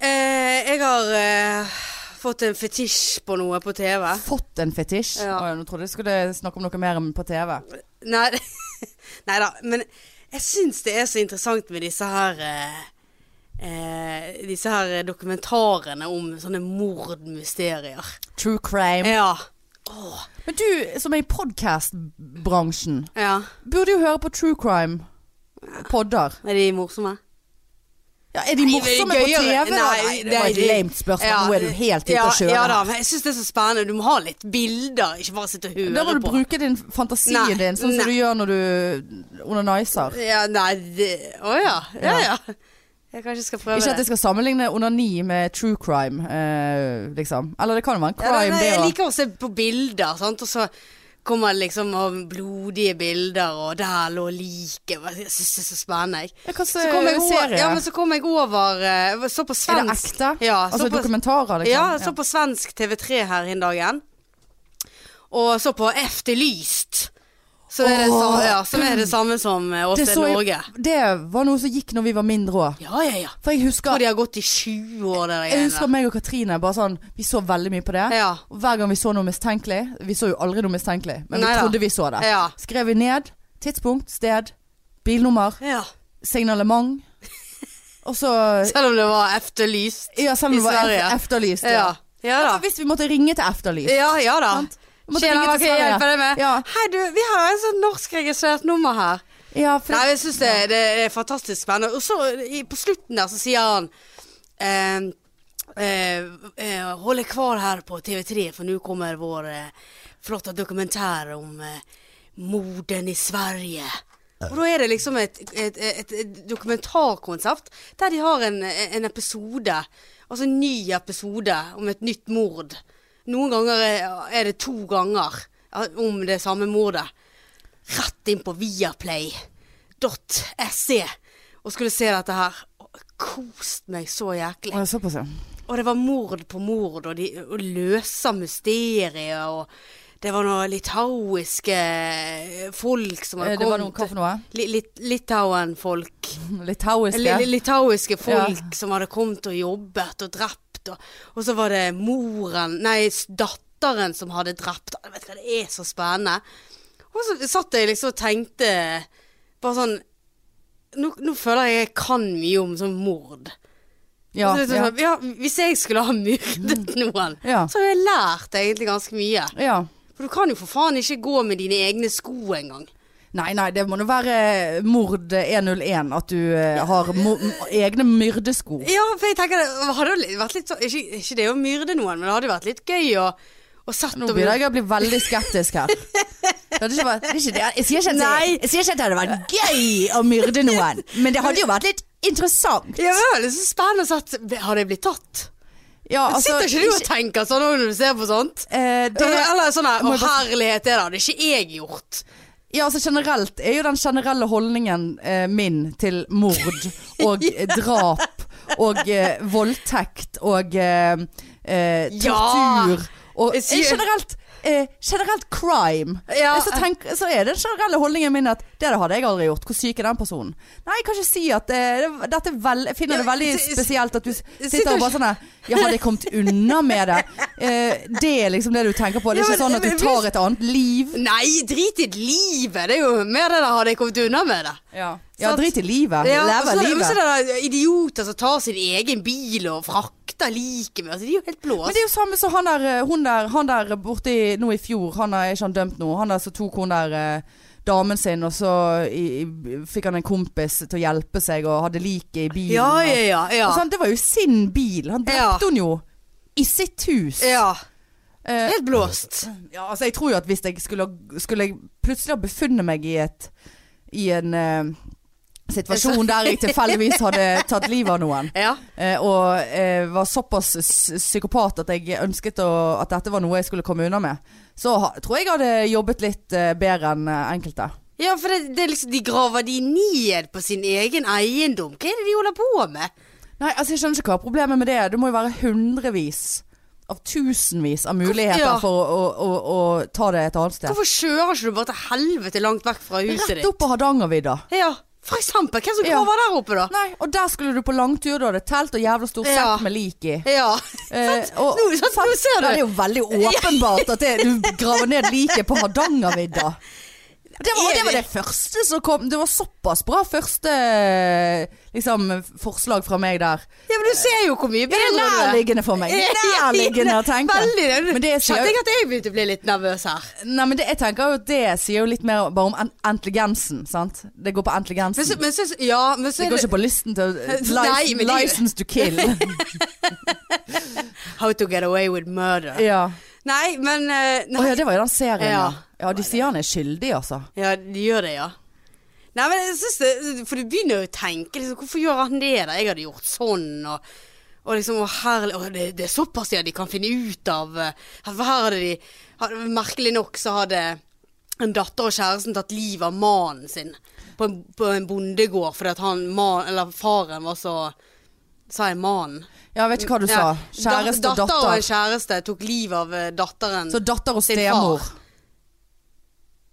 Speaker 2: Eh, jeg har eh, fått en fetisj på noe på TV.
Speaker 1: Fått en fetisj?
Speaker 2: Ja.
Speaker 1: Å, nå trodde jeg skulle snakke om noe mer enn på TV.
Speaker 2: Nei, nei da. Men jeg syns det er så interessant med disse her eh, eh, Disse her dokumentarene om sånne mordmysterier.
Speaker 1: True crime.
Speaker 2: Ja.
Speaker 1: Eh, Men du som er i podkast-bransjen,
Speaker 2: ja.
Speaker 1: burde jo høre på true crime-podder.
Speaker 2: Er de morsomme?
Speaker 1: Ja, er de
Speaker 2: Nei,
Speaker 1: morsomme
Speaker 2: det er
Speaker 1: på
Speaker 2: gøyere.
Speaker 1: TV? da?
Speaker 2: Nei,
Speaker 1: Nei, det var et
Speaker 2: nei, det-
Speaker 1: lamet spørsmål. Nå er du helt ute
Speaker 2: ja,
Speaker 1: å kjøre.
Speaker 2: Ja da,
Speaker 1: her.
Speaker 2: men jeg syns det er så spennende. Du må ha litt bilder, ikke bare sitte og høre på.
Speaker 1: da må du bruke din fantasien
Speaker 2: Nei,
Speaker 1: din, sånn
Speaker 2: nei.
Speaker 1: som du gjør når du onaniser.
Speaker 2: Ja, nei, det Å ja. Ja ja. Jeg kanskje skal prøve
Speaker 1: Ikke at
Speaker 2: det.
Speaker 1: jeg skal sammenligne onani med true crime, eh, liksom. Eller det kan jo være en
Speaker 2: Ja, nei,
Speaker 1: crime,
Speaker 2: nei,
Speaker 1: det
Speaker 2: jeg
Speaker 1: òg.
Speaker 2: liker å se på bilder, sant? og så kommer det liksom av blodige bilder, og der lå liket. Jeg syns det er så spennende. jeg.
Speaker 1: Hva
Speaker 2: Så kom jeg
Speaker 1: slags
Speaker 2: over,
Speaker 1: serie?
Speaker 2: ja, men så kom jeg over eh, Så på
Speaker 1: er det
Speaker 2: svensk.
Speaker 1: ekte?
Speaker 2: Ja, så
Speaker 1: altså
Speaker 2: på,
Speaker 1: dokumentarer, liksom?
Speaker 2: ja, så på svensk TV3 her en dagen. Og så på Efterlyst. Så er det, samme, ja, som er det samme som eh,
Speaker 1: Det
Speaker 2: ofte
Speaker 1: så jeg-
Speaker 2: Norge.
Speaker 1: Det var noe som gikk når vi var mindre òg.
Speaker 2: Ja, ja, ja.
Speaker 1: For jeg
Speaker 2: Tror
Speaker 1: husker
Speaker 2: de har gått i 20 år, det der
Speaker 1: Jeg
Speaker 2: greiene.
Speaker 1: husker meg og Katrine bare sånn Vi så veldig mye på det.
Speaker 2: Ja.
Speaker 1: Og hver gang vi så noe mistenkelig Vi så jo aldri noe mistenkelig, men
Speaker 2: Neida.
Speaker 1: vi trodde vi så det.
Speaker 2: Ja.
Speaker 1: Skrev vi ned tidspunkt, sted, bilnummer,
Speaker 2: ja.
Speaker 1: signalement. Og så
Speaker 2: Selv om det var Efterlyst
Speaker 1: Ja, selv om
Speaker 2: i
Speaker 1: det var
Speaker 2: Sverige.
Speaker 1: eft- efterlyst.
Speaker 2: ja. ja da.
Speaker 1: For hvis vi måtte ringe til efterlyst.
Speaker 2: Ja, ja da.
Speaker 1: Sant? Vi måtte
Speaker 2: Tjena,
Speaker 1: ringe
Speaker 2: hva
Speaker 1: til
Speaker 2: kan jeg
Speaker 1: Sverige.
Speaker 2: hjelpe deg med?
Speaker 1: Ja.
Speaker 2: Hei, du, vi har en sånn norskregistrert nummer her.
Speaker 1: Ja, for
Speaker 2: Nei, jeg syns det, det er fantastisk spennende. Og så i- på slutten der så sier han ehm, eh, eh, Håll dere kvar her på TV3, for nå kommer vår eh, flotte dokumentær om eh, morden i Sverige. Og da er det liksom et, et, et, et dokumentarkonsept der de har en, en episode, altså en ny episode om et nytt mord. Noen ganger er- er det to ganger eh, om det samme mordet rett inn på viaplay.se E og skulle se dette her. Og Kost meg så jæklig.
Speaker 1: Å, Såpass, ja.
Speaker 2: Og det var mord på mord, og de og løsa mysterier, og det var noen litauiske folk som
Speaker 1: Eh,
Speaker 2: hadde
Speaker 1: Det var noe, hva for noe?
Speaker 2: Li- lit- Litauen-folk. Li- li-
Speaker 1: Litauiske?
Speaker 2: Litauiske folk
Speaker 1: Ja.
Speaker 2: som hadde kommet og jobbet og drept, og, og så var det moren, nei, s- datteren som hadde drept. Jeg vet ikke, det er så spennende. Og så satt jeg liksom og tenkte bare sånn Nå, nå føler jeg jeg kan mye om sånn mord.
Speaker 1: Ja.
Speaker 2: Og så
Speaker 1: ja. Mm.
Speaker 2: liksom, ja. hvis jeg skulle ha myrdet noen,
Speaker 1: Ja.
Speaker 2: så har jeg lært egentlig ganske mye.
Speaker 1: ja.
Speaker 2: For du kan jo for faen ikke gå med dine egne sko engang.
Speaker 1: Nei, nei, det må nå være mord 101. At du eh, har mo m- egne myrdesko.
Speaker 2: Ja, for jeg tenker det hadde jo vært litt sånn ikke, ikke det å myrde noen, men det hadde jo vært litt gøy å, å sette
Speaker 1: Nå
Speaker 2: om-
Speaker 1: begynner jeg å bli veldig skeptisk her. Det hadde ikke vært, det er ikke det. Jeg, sier ikke at
Speaker 2: Nei.
Speaker 1: det, jeg sier ikke at det hadde vært gøy å myrde noen, men det hadde jo vært litt interessant.
Speaker 2: Ja, men det er så spennende å sette Har det blitt tatt?
Speaker 1: Ja,
Speaker 2: Sitter ikke du og tenker sånn når du ser på sånt?
Speaker 1: eh, det,
Speaker 2: Eller sånn her
Speaker 1: må
Speaker 2: Å,
Speaker 1: jeg bare-
Speaker 2: herlighet, det hadde ikke jeg gjort.
Speaker 1: Ja, altså generelt er jo den generelle holdningen eh, min til mord og eh, drap og eh, voldtekt og eh, eh,
Speaker 2: Ja.
Speaker 1: tortur og
Speaker 2: Jeg
Speaker 1: eh,
Speaker 2: sier-
Speaker 1: generelt Eh, generelt crime. Eh,
Speaker 2: Ja.
Speaker 1: Så, tenk, så er den generelle holdningen min at det hadde jeg aldri gjort. Hvor syk er den personen? Nei, jeg kan ikke si at eh, det- dette er vel, Jeg finner det
Speaker 2: Ja,
Speaker 1: veldig
Speaker 2: s- s-
Speaker 1: spesielt at du s-
Speaker 2: sitter
Speaker 1: sitter og bare sånn her Ja, hadde jeg kommet unna med det? Eh, det er liksom det du tenker på. Det er
Speaker 2: Ja,
Speaker 1: ikke sånn
Speaker 2: men-
Speaker 1: at du
Speaker 2: men hvis-
Speaker 1: tar et annet liv.
Speaker 2: Nei, drit i livet. Det er jo mer det der hadde jeg kommet unna med det.
Speaker 1: Ja,
Speaker 2: Sant?
Speaker 1: drit i livet.
Speaker 2: og så er
Speaker 1: Leve
Speaker 2: det- og så
Speaker 1: livet.
Speaker 2: er det der idioter som tar sin egen bil og frakter liket med. Altså, de er jo helt
Speaker 1: Men
Speaker 2: blåst.
Speaker 1: det er jo samme som han der, eh, hun der, han der borti nå i fjor, han er ikke han dømt nå, han der som tok hun der eh, damen sin, og så i, i, fikk han en kompis til å hjelpe seg, og hadde liket i bilen.
Speaker 2: Ja,
Speaker 1: og-
Speaker 2: ja, ja. ja.
Speaker 1: Og sånn, det var jo sin bil, han drepte
Speaker 2: Ja.
Speaker 1: hun jo i sitt hus.
Speaker 2: ja.
Speaker 1: Eh,
Speaker 2: Helt blåst.
Speaker 1: ja, altså jeg tror jo at hvis jeg skulle, ha- skulle jeg plutselig ha befunnet meg i et, i en
Speaker 2: sånn-
Speaker 1: eh, situasjon der jeg tilfeldigvis hadde tatt livet av noen,
Speaker 2: Ja.
Speaker 1: Eh, og eh, var såpass s- psykopat at jeg ønsket å, at dette var noe jeg skulle komme unna med. Så ha, tror jeg jeg hadde jobbet litt eh, bedre enn eh, enkelte.
Speaker 2: Ja, for det, det er liksom, de graver de ned på sin egen eiendom. Hva er det de holder på med?
Speaker 1: Nei, altså jeg skjønner ikke hva problemet med det er. Det må jo være hundrevis av tusenvis av muligheter
Speaker 2: Ja.
Speaker 1: for å, å, å, å ta det et annet sted.
Speaker 2: Hvorfor kjører ikke du bare til helvete langt vekk fra huset
Speaker 1: Rett
Speaker 2: ditt?
Speaker 1: opp på Hardangervidda.
Speaker 2: Ja, for eksempel. Hvem som
Speaker 1: Ja.
Speaker 2: graver der oppe, da?
Speaker 1: Nei, og der skulle du på langtur, da. Det er telt og jævla stor sekk
Speaker 2: Ja.
Speaker 1: med lik i.
Speaker 2: Ja.
Speaker 1: Eh, og-
Speaker 2: Nå- sant, nå ser
Speaker 1: Ja,
Speaker 2: du.
Speaker 1: Det er jo veldig åpenbart at det, du graver ned liket på Hardangervidda. Det var, det var det første som kom. Det var såpass bra første liksom, forslag fra meg der.
Speaker 2: Ja, men du ser jo hvor mye
Speaker 1: Det er
Speaker 2: bedre det
Speaker 1: nærliggende for meg. Nærliggende å tenke.
Speaker 2: Veldig det.
Speaker 1: Men det sier-
Speaker 2: Kjente jeg at jeg begynte å bli litt nervøs her.
Speaker 1: Nei, men det, jeg tenker jo at det sier jo litt mer bare om en- intelligensen, sant. Det går på
Speaker 2: Men så,
Speaker 1: intelligensen.
Speaker 2: men så, ja, men så
Speaker 1: Det
Speaker 2: er
Speaker 1: går
Speaker 2: det
Speaker 1: ikke på lysten til
Speaker 2: Nei, men det-
Speaker 1: License to kill.
Speaker 2: How to get away with murder.
Speaker 1: Ja.
Speaker 2: Nei, men eh,
Speaker 1: Å
Speaker 2: nei.
Speaker 1: ja, det var jo den serien, ja.
Speaker 2: Ja.
Speaker 1: Ja, de sier han er skyldig, altså.
Speaker 2: Ja, de gjør det, ja. Nei, men jeg synes det For du begynner jo å tenke liksom, Hvorfor gjør han det da? Jeg hadde gjort sånn og, og liksom og herlig, og det, det er såpass ja de kan finne ut av eh, For her hadde de hadde, Merkelig nok så hadde en datter og kjæresten tatt livet av mannen sin på en, på en bondegård fordi at han, man, eller faren var så Sa jeg mannen?
Speaker 1: Ja, jeg vet ikke hva du
Speaker 2: Ja,
Speaker 1: sa. Kjæreste
Speaker 2: da-
Speaker 1: og datter.
Speaker 2: og en kjæreste tok livet av eh, datteren.
Speaker 1: Så datter og
Speaker 2: Sin
Speaker 1: stemor.
Speaker 2: far.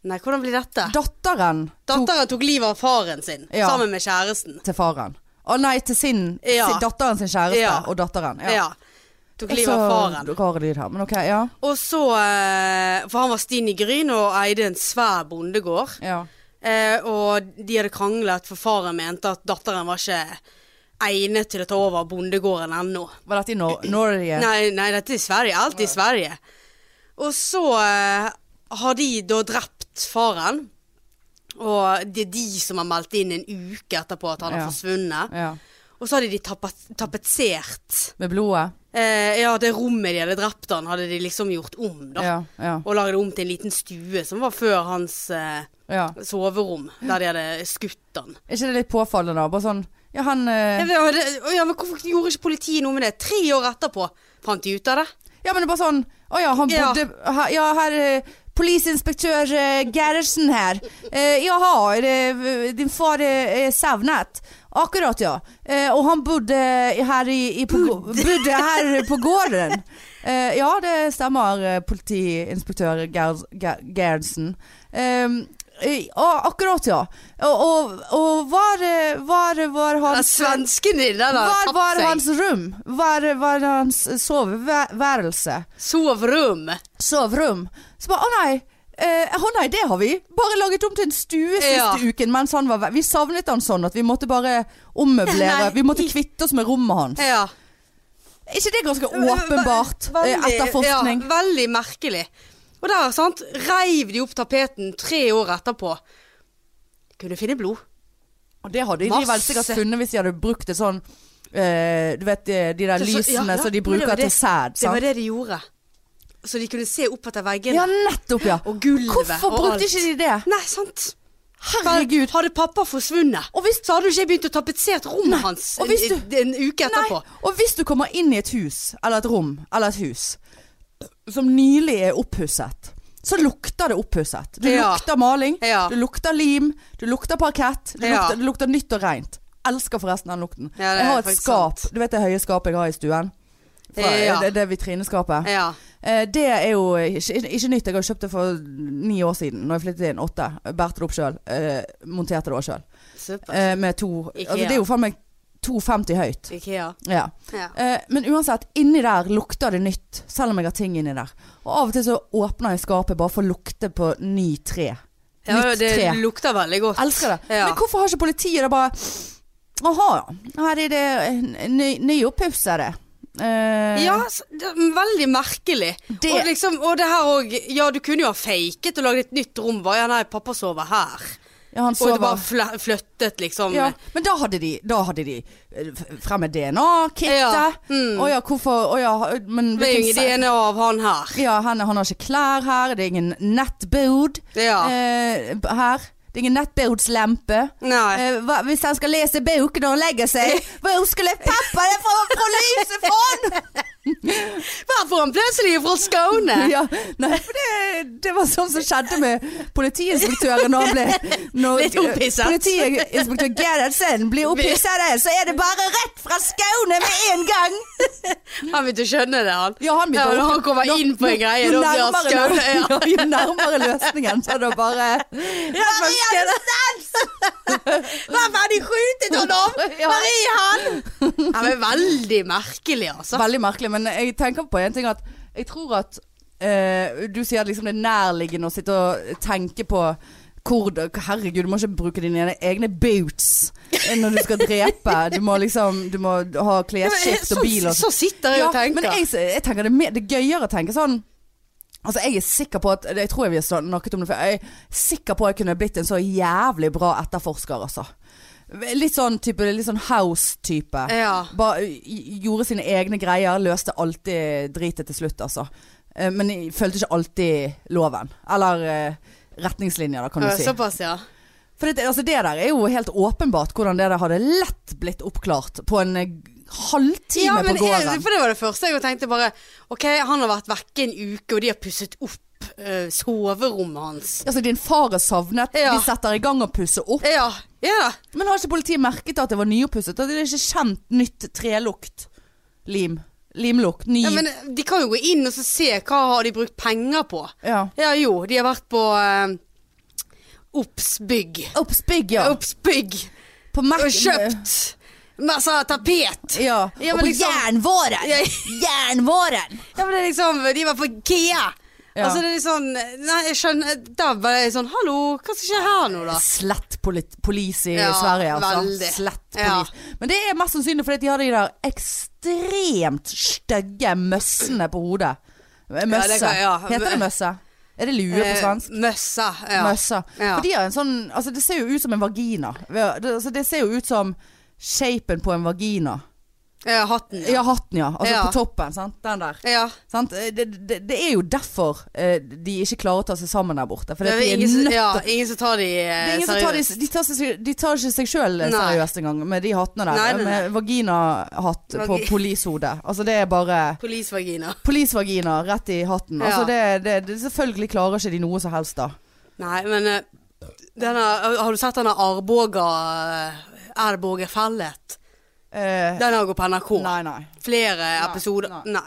Speaker 2: Nei, hvordan blir dette?
Speaker 1: Datteren tok
Speaker 2: Datteren tok livet av faren sin
Speaker 1: Ja.
Speaker 2: sammen med kjæresten.
Speaker 1: til faren. Å nei, til sin,
Speaker 2: Ja.
Speaker 1: sin datteren sin kjæreste
Speaker 2: Ja.
Speaker 1: og datteren.
Speaker 2: Ja. Tok
Speaker 1: Jeg
Speaker 2: livet av faren.
Speaker 1: Så rar lyd her, men ok, ja.
Speaker 2: Og så eh, For han var stinn i gryn og eide en svær bondegård.
Speaker 1: ja.
Speaker 2: Eh, og de hadde kranglet, for faren mente at datteren var ikke egnet til å ta over bondegården ennå.
Speaker 1: Var dette i Nor Norge?
Speaker 2: Nei, nei, dette er i Sverige. Alt i Sverige. Og så eh, har de da drept faren. Og det er de som har meldt inn en uke etterpå at han
Speaker 1: Ja.
Speaker 2: har forsvunnet.
Speaker 1: Ja.
Speaker 2: Og så hadde de tapet, tapetsert
Speaker 1: Med blodet?
Speaker 2: eh, Ja, det rommet de hadde drept han, hadde de liksom gjort om, da.
Speaker 1: Ja. Ja.
Speaker 2: Og lagde det om til en liten stue som var før hans eh,
Speaker 1: ja.
Speaker 2: soverom, der de hadde skutt han.
Speaker 1: Er ikke det litt påfallende? da? Bare sånn Ja, han eh,
Speaker 2: Ja, men, ja, men hvorfor gjorde ikke politiet noe med det? Tre år etterpå fant de ut av det.
Speaker 1: Ja, men det er bare sånn Å ja, han
Speaker 2: Ja.
Speaker 1: bodde her- Ja, her eh, Polisinspektør eh, Gerhardsen her. Eh, jaha, er det- din far eh, er savnet. Akkurat, ja. Eh, og han bodde her, i, i på, bodde her på gården. Eh, ja, det stemmer, eh, politiinspektør Gerhard- Ger- Gerhardsen. Eh, eh, ja, akkurat, ja. Og, og, og var, eh, var, var
Speaker 2: Den
Speaker 1: hans
Speaker 2: svensken din, den har
Speaker 1: Var
Speaker 2: tatt
Speaker 1: var
Speaker 2: seg.
Speaker 1: hans rom? Var var hans soveværelse?
Speaker 2: Sovrom.
Speaker 1: Soverom? Så bare, å nei. Eh, å nei, det har vi. Bare laget om til en stue siste
Speaker 2: Ja.
Speaker 1: uken mens han var ve- Vi savnet han sånn at vi måtte bare ommøblere.
Speaker 2: Nei. Eh.
Speaker 1: Vi måtte kvitte oss med rommet hans.
Speaker 2: Ja.
Speaker 1: Er ikke det ganske åpenbart eh, etterforskning?
Speaker 2: Ja, veldig merkelig. Og der, sant, reiv de opp tapeten tre år etterpå. Kunne finne blod.
Speaker 1: Og det hadde de
Speaker 2: Masse.
Speaker 1: vel sikkert funnet hvis de hadde brukt et sånn eh, Du vet de, de der
Speaker 2: Så- så-
Speaker 1: lysene
Speaker 2: ja, ja,
Speaker 1: som de
Speaker 2: men det var
Speaker 1: bruker
Speaker 2: det-
Speaker 1: til sæd,
Speaker 2: Det var
Speaker 1: sant?
Speaker 2: det de gjorde. Så de kunne se opp etter veggene
Speaker 1: Ja, nettopp, ja.
Speaker 2: og gulvet
Speaker 1: Hvorfor
Speaker 2: og alt.
Speaker 1: brukte ikke de det?
Speaker 2: Nei, sant.
Speaker 1: Herregud.
Speaker 2: Hadde pappa forsvunnet,
Speaker 1: Og hvis
Speaker 2: så hadde jo ikke jeg begynt å tapetsert rommet hans
Speaker 1: og hvis
Speaker 2: en, en uke etterpå.
Speaker 1: Nei, og hvis du kommer inn i et hus, eller et rom, eller et hus, som nylig er oppusset, så lukter det oppusset. Du
Speaker 2: Ja.
Speaker 1: lukter maling,
Speaker 2: Ja.
Speaker 1: du lukter lim, du lukter parkett, du,
Speaker 2: Ja.
Speaker 1: lukter, det lukter nytt og rent. Elsker forresten den lukten.
Speaker 2: Ja, det
Speaker 1: jeg
Speaker 2: er
Speaker 1: har et
Speaker 2: faktisk
Speaker 1: skap,
Speaker 2: sant.
Speaker 1: du vet det høye skapet jeg har i stuen? Fra,
Speaker 2: Ja.
Speaker 1: Det, det vitrineskapet.
Speaker 2: Ja.
Speaker 1: Eh, Det er jo ikke, ikke nytt. Jeg har kjøpt det for ni år siden. Når jeg flyttet inn. Åtte. Bærte det opp sjøl. Monterte det òg sjøl.
Speaker 2: Super.
Speaker 1: Med to
Speaker 2: Ikea.
Speaker 1: altså, Det er jo faen meg 2,50 høyt.
Speaker 2: Ikea.
Speaker 1: Ja.
Speaker 2: Ja.
Speaker 1: Eh, men uansett, inni der lukter det nytt, selv om jeg har ting inni der. Og av og til så åpner jeg skapet bare for å lukte på ny tre.
Speaker 2: Ja,
Speaker 1: Nytt
Speaker 2: det
Speaker 1: tre.
Speaker 2: lukter veldig godt.
Speaker 1: Elsker det.
Speaker 2: Ja.
Speaker 1: Men hvorfor har ikke politiet det bare Aha, ja. Her er det eh, ny, nyoppussede. Eh,
Speaker 2: Ja, s- det er veldig merkelig.
Speaker 1: Det-
Speaker 2: Og, liksom, og det her òg Ja, du kunne jo ha faket og laget et nytt rom. Bare, ja, nei, pappa sover her.
Speaker 1: ja, han
Speaker 2: Og det
Speaker 1: sover.
Speaker 2: bare fl flyttet, liksom.
Speaker 1: Ja, men da hadde de, da hadde de eh, f- fremme DNA-kittet. Å
Speaker 2: Ja,
Speaker 1: ja.
Speaker 2: mm.
Speaker 1: hvorfor Å ja, men
Speaker 2: Det er jo
Speaker 1: hvilken
Speaker 2: ingen DNA av han her.
Speaker 1: se- ja, han, han har ikke klær her, det er ingen nettbod
Speaker 2: Ja.
Speaker 1: eh, her. Det er ingen nettbodslempe.
Speaker 2: Nei.
Speaker 1: Eh, hva, hvis han skal lese boken og legge seg, hvor skulle pappa det fra, fra lyset fra?
Speaker 2: Hvorfor han plutselig fra Skåne?
Speaker 1: Ja, nei, for det, det var sånn som skjedde med politiinspektøren når han ble når,
Speaker 2: Litt opphisset.
Speaker 1: Politiinspektør Gerhardsen blir opphisset, så er det bare rett fra Skåne med en gang.
Speaker 2: Han begynte å skjønne det, han.
Speaker 1: Ja, han begynte
Speaker 2: Ja,
Speaker 1: å-
Speaker 2: når han kommer
Speaker 1: Nå-
Speaker 2: inn på en
Speaker 1: nå-
Speaker 2: greie,
Speaker 1: jo
Speaker 2: da blir han
Speaker 1: nærmere
Speaker 2: skåne,
Speaker 1: nå-
Speaker 2: ja.
Speaker 1: Jo nærmere løsningen, så da bare Marianne
Speaker 2: Hvorfor har de skjutet han av?
Speaker 1: Ja.
Speaker 2: Hvor er han? Han er veldig merkelig, altså.
Speaker 1: Veldig merkelig, men jeg tenker på en ting at Jeg tror at eh, du sier at liksom det er nærliggende å sitte og tenke på hvor det- Herregud, du må ikke bruke dine egne boots når du skal drepe. Du må liksom Du må ha
Speaker 2: Ja, men,
Speaker 1: klesskift
Speaker 2: så,
Speaker 1: og bil og
Speaker 2: så sitter jeg og tenker.
Speaker 1: Men jeg, jeg tenker det, er mer- det er gøyere å tenke sånn Altså jeg er sikker på at Jeg tror jeg vi har snakket om det før. Jeg er sikker på at jeg kunne blitt en så jævlig bra etterforsker, altså. Litt sånn type Litt sånn house-type.
Speaker 2: Ja.
Speaker 1: Bare y- gjorde sine egne greier, løste alltid dritet til slutt, altså. Eh, Men jeg følte ikke alltid loven. Eller eh, retningslinjer, da, kan du
Speaker 2: Ja,
Speaker 1: si.
Speaker 2: Såpass, ja.
Speaker 1: For det, altså det der er jo helt åpenbart hvordan det der hadde lett blitt oppklart på en eh, halvtime
Speaker 2: ja, men
Speaker 1: på gården.
Speaker 2: jeg- For det var det første jeg tenkte bare Ok, han har vært vekke en uke, og de har pusset opp eh, soverommet hans.
Speaker 1: Altså, din far er savnet.
Speaker 2: Ja.
Speaker 1: De setter i gang å pusse opp.
Speaker 2: Ja, ja.
Speaker 1: Men har ikke politiet merket at det var nyoppusset? At det er ikke kjent nytt trelukt? Lim. Limlukt. Ny.
Speaker 2: ja Men de kan jo gå inn og så se hva har de brukt penger på.
Speaker 1: ja.
Speaker 2: Ja jo, de har vært på uh, Obs-bygg.
Speaker 1: Oppspygg, ja.
Speaker 2: Obs-bygg.
Speaker 1: På Mac.
Speaker 2: Og kjøpt
Speaker 1: eh.
Speaker 2: masse tapet.
Speaker 1: Ja.
Speaker 2: Ja,
Speaker 1: og på
Speaker 2: men liksom-
Speaker 1: jernvåren.
Speaker 2: Ja.
Speaker 1: Jernvåren.
Speaker 2: Ja, men det er liksom De var på IKEA.
Speaker 1: Ja.
Speaker 2: Altså det er litt sånn Nei, jeg skjønner Da var jeg sånn Hallo, hva som skjer her nå, da?
Speaker 1: Slett polit police i
Speaker 2: Ja,
Speaker 1: Sverige, altså.
Speaker 2: veldig.
Speaker 1: Slett
Speaker 2: Ja.
Speaker 1: police. Men det er mest sannsynlig fordi de har de der ekstremt stygge møssene på hodet. Møsse.
Speaker 2: kan- ja. Eh,
Speaker 1: Heter det møsse? Er det lue på svensk?
Speaker 2: Møssa. Ja.
Speaker 1: Møssa.
Speaker 2: Ja.
Speaker 1: For de har en sånn Altså, det ser jo ut som en vagina. Ved- det- Altså, det ser jo ut som shapen på en vagina.
Speaker 2: Eh, hatten.
Speaker 1: Ja, hatten, ja. Altså
Speaker 2: Ja.
Speaker 1: på toppen. Sant? Den der.
Speaker 2: Ja.
Speaker 1: Sant? Eh, Det, det, det er jo derfor eh, de ikke klarer å ta seg sammen der borte. For de
Speaker 2: Det er
Speaker 1: er
Speaker 2: ingen, som-
Speaker 1: nødt
Speaker 2: ja, ingen som tar de
Speaker 1: det er
Speaker 2: eh,
Speaker 1: ingen som tar de,
Speaker 2: seriøst.
Speaker 1: de, tar seg, de tar ikke seg sjøl
Speaker 2: Nei.
Speaker 1: seriøst engang med de hattene der.
Speaker 2: Nei, nei, nei.
Speaker 1: Med vaginahatt på
Speaker 2: Vagi-
Speaker 1: polishodet. Altså det er bare
Speaker 2: Polisvagina.
Speaker 1: Polisvagina rett i hatten. Altså
Speaker 2: Ja.
Speaker 1: det, det, det, selvfølgelig klarer ikke de noe som helst da.
Speaker 2: Nei, men eh, denne, har du sett denne Arboga Erboge Fellet?
Speaker 1: Eh,
Speaker 2: Den har gått på NRK.
Speaker 1: nei, nei.
Speaker 2: Flere episoder.
Speaker 1: nei.
Speaker 2: Nei.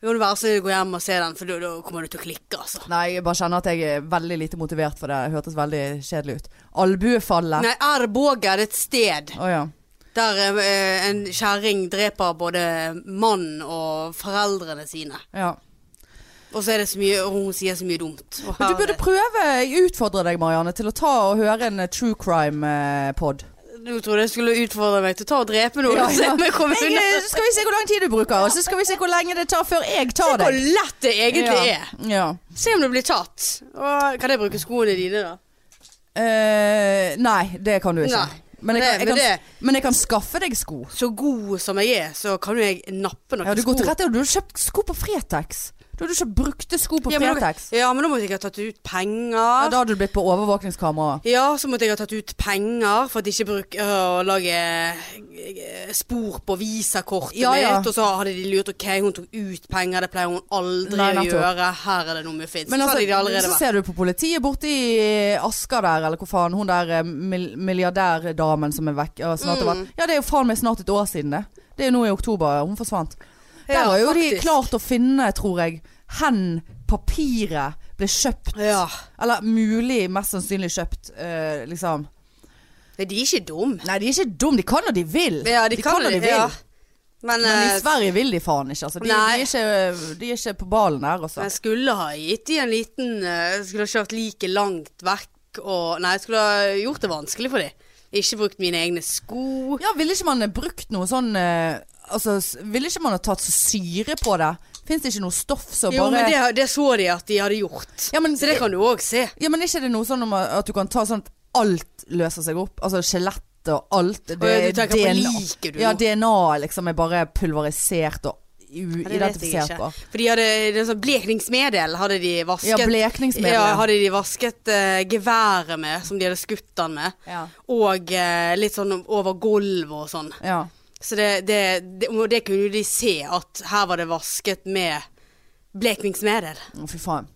Speaker 2: Da kan du være så snill å gå hjem og se den, for da- da kommer du til å klikke, altså.
Speaker 1: Nei, jeg bare kjenner at jeg er veldig lite motivert for det. Det hørtes veldig kjedelig ut. Albuefallet.
Speaker 2: Nei, Erboge er et sted
Speaker 1: Å ja.
Speaker 2: der eh, en kjerring dreper både mannen og foreldrene sine.
Speaker 1: ja.
Speaker 2: Og så er det så mye Og hun sier så mye dumt. Og
Speaker 1: Men du
Speaker 2: her-
Speaker 1: burde prøve, jeg utfordrer deg Marianne, til å ta og høre en eh, true eh, crime-pod.
Speaker 2: Du trodde jeg skulle utfordre meg til å ta og drepe noen.
Speaker 1: Ja,
Speaker 2: Ja,
Speaker 1: ja.
Speaker 2: ja. Jeg kommer
Speaker 1: Jeg,
Speaker 2: unna.
Speaker 1: eh, skal vi se hvor lang tid du bruker, og så skal vi se hvor lenge det tar før jeg tar
Speaker 2: Hvor
Speaker 1: deg.
Speaker 2: lett det egentlig
Speaker 1: ja.
Speaker 2: er.
Speaker 1: Ja.
Speaker 2: Se om du blir tatt. Og, kan jeg bruke skoene dine, da?
Speaker 1: Eh, nei, det kan du ikke.
Speaker 2: Nei.
Speaker 1: Men, jeg
Speaker 2: Det-
Speaker 1: kan, jeg
Speaker 2: men
Speaker 1: kan, men jeg kan skaffe deg sko.
Speaker 2: Så god som jeg er, så kan jo jeg nappe noen
Speaker 1: Ja, du går til
Speaker 2: sko.
Speaker 1: rette, og du har kjøpt sko på Fretex. Du har kjøpt brukte sko på
Speaker 2: Ja, men da-
Speaker 1: Fretex.
Speaker 2: Ja, men da måtte jeg ha tatt ut
Speaker 1: Ja, da
Speaker 2: penger.
Speaker 1: hadde du blitt på overvåkningskamera.
Speaker 2: Ja, så måtte jeg ha tatt ut penger for at jeg ikke bruker å lage eh, spor på visakortet
Speaker 1: Ja, ja.
Speaker 2: mitt. Og så hadde de lurt ok, hun tok ut penger, det pleier hun aldri
Speaker 1: Nei,
Speaker 2: å
Speaker 1: nettopp.
Speaker 2: gjøre. Her er det noe muffins.
Speaker 1: Men
Speaker 2: så hadde de
Speaker 1: altså,
Speaker 2: allerede
Speaker 1: så
Speaker 2: vært.
Speaker 1: ser du på politiet borte i Asker der, eller hvor faen, hun der eh, mil- milliardærdamen som er vekk. ja,
Speaker 2: Mm.
Speaker 1: Snart har vært. Ja, det er jo faen meg snart et år siden det. Det er jo nå i oktober, hun forsvant. Der
Speaker 2: Ja,
Speaker 1: har jo de
Speaker 2: faktisk.
Speaker 1: klart å finne, tror jeg, hen papiret ble kjøpt.
Speaker 2: Ja.
Speaker 1: Eller mulig, mest sannsynlig kjøpt, eh, liksom.
Speaker 2: Nei, de er ikke dumme.
Speaker 1: Nei, de er ikke dumme, de kan når de vil.
Speaker 2: Ja, de, kan
Speaker 1: når
Speaker 2: det. ja. Men,
Speaker 1: Men
Speaker 2: eh,
Speaker 1: i Sverige vil de faen ikke, altså. De, de,
Speaker 2: Nei.
Speaker 1: er, ikke, de er ikke på ballen der, altså.
Speaker 2: Men Jeg skulle ha gitt de en liten eh, Skulle ha kjørt like langt vekk og Nei, jeg skulle ha gjort det vanskelig for de. Ikke brukt mine egne sko.
Speaker 1: Ja, ville ikke man eh, brukt noe sånn eh, Altså, s- ville ikke man ha tatt så syre på det? Fins det ikke noe stoff som
Speaker 2: Jo, men
Speaker 1: bare
Speaker 2: det, det så de at de hadde gjort.
Speaker 1: Ja, men-
Speaker 2: så det kan du òg se.
Speaker 1: Ja, men er ikke det noe sånn om at du kan ta sånn at alt løser seg opp? Altså skjelett og alt.
Speaker 2: Å, ja, du
Speaker 1: er
Speaker 2: tenker på
Speaker 1: DNA.
Speaker 2: liket du
Speaker 1: Ja,
Speaker 2: nå.
Speaker 1: DNA liksom er bare pulverisert og u-
Speaker 2: Ja, det vet jeg
Speaker 1: identifisert.
Speaker 2: ikke.
Speaker 1: og-
Speaker 2: For de hadde det er sånn blekningsmedel hadde de vasket.
Speaker 1: Ja, blekningsmedel,
Speaker 2: Ja,
Speaker 1: ja.
Speaker 2: hadde de vasket eh, geværet med, som de hadde skutt den med.
Speaker 1: Ja.
Speaker 2: Og eh, litt sånn over gulvet og sånn.
Speaker 1: ja.
Speaker 2: Så det, det, det, og det kunne jo de se, at her var det vasket med blekningsmedel.
Speaker 1: Å, fy faen.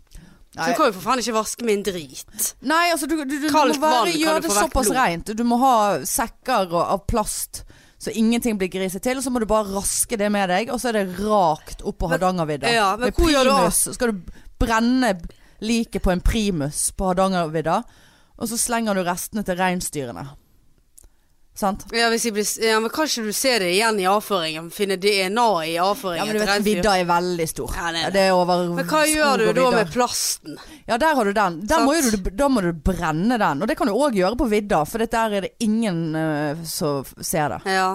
Speaker 2: Så du kan jo for faen ikke vaske med en drit.
Speaker 1: Nei, altså du, du, du, du må
Speaker 2: Kaldt vann
Speaker 1: være,
Speaker 2: kan
Speaker 1: gjøre
Speaker 2: du
Speaker 1: det
Speaker 2: få vekk
Speaker 1: såpass
Speaker 2: blod.
Speaker 1: rent. Du må ha sekker og, av plast så ingenting blir griset til. Og så må du bare raske det med deg, og så er det rakt opp på Hardangervidda.
Speaker 2: ja, men
Speaker 1: med
Speaker 2: hvor gjør du av?
Speaker 1: primus. Så skal du brenne liket på en primus på Hardangervidda, og så slenger du restene til reinsdyrene. Sant?
Speaker 2: Ja, hvis jeg blir, s- ja, men kanskje du ser det igjen i avføringen. Finne DNA i avføringen.
Speaker 1: Ja, men du vet,
Speaker 2: etter reinsdyr.
Speaker 1: Vidda er veldig stor.
Speaker 2: Ja, det er det.
Speaker 1: det er over
Speaker 2: Men hva gjør du
Speaker 1: skog og
Speaker 2: da
Speaker 1: vidder.
Speaker 2: med plasten?
Speaker 1: Ja, der har du den. Der
Speaker 2: Sant.
Speaker 1: må jo du, da må du brenne den. Og det kan du òg gjøre på vidda, for det der er det ingen eh, som f- ser det.
Speaker 2: Ja.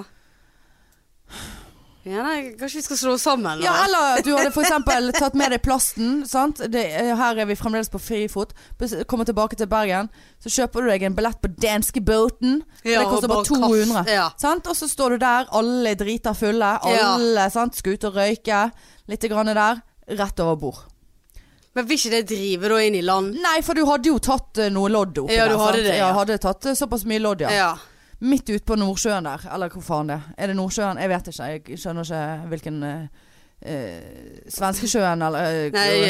Speaker 2: ja nei, kanskje vi skal slå oss sammen?
Speaker 1: Ja,
Speaker 2: da?
Speaker 1: eller at du hadde f.eks. tatt med deg plasten. Sant? Det, eh, her er vi fremdeles på frifot. Bes- Kommer tilbake til Bergen, så kjøper du deg en billett på danskebåten.
Speaker 2: Ja,
Speaker 1: det koster bare
Speaker 2: og bare kaff,
Speaker 1: 200.
Speaker 2: ja.
Speaker 1: Sant? Og så står du der, alle er drita fulle.
Speaker 2: Ja.
Speaker 1: Alle sant? skal ut og røyke. Litt grann der. Rett over bord.
Speaker 2: Men vil ikke det drive da inn i land?
Speaker 1: Nei, for du hadde jo tatt eh, noe lodd oppi
Speaker 2: Ja, du
Speaker 1: der.
Speaker 2: hadde
Speaker 1: sant?
Speaker 2: det,
Speaker 1: ja.
Speaker 2: ja.
Speaker 1: hadde tatt eh, såpass mye lodd, ja.
Speaker 2: Ja.
Speaker 1: Midt ute på Nordsjøen der, eller hvor faen det er. Er det Nordsjøen? Jeg vet ikke, jeg skjønner ikke hvilken eh, eh, Svenskesjøen eller eh,
Speaker 2: Nei,
Speaker 1: hvor-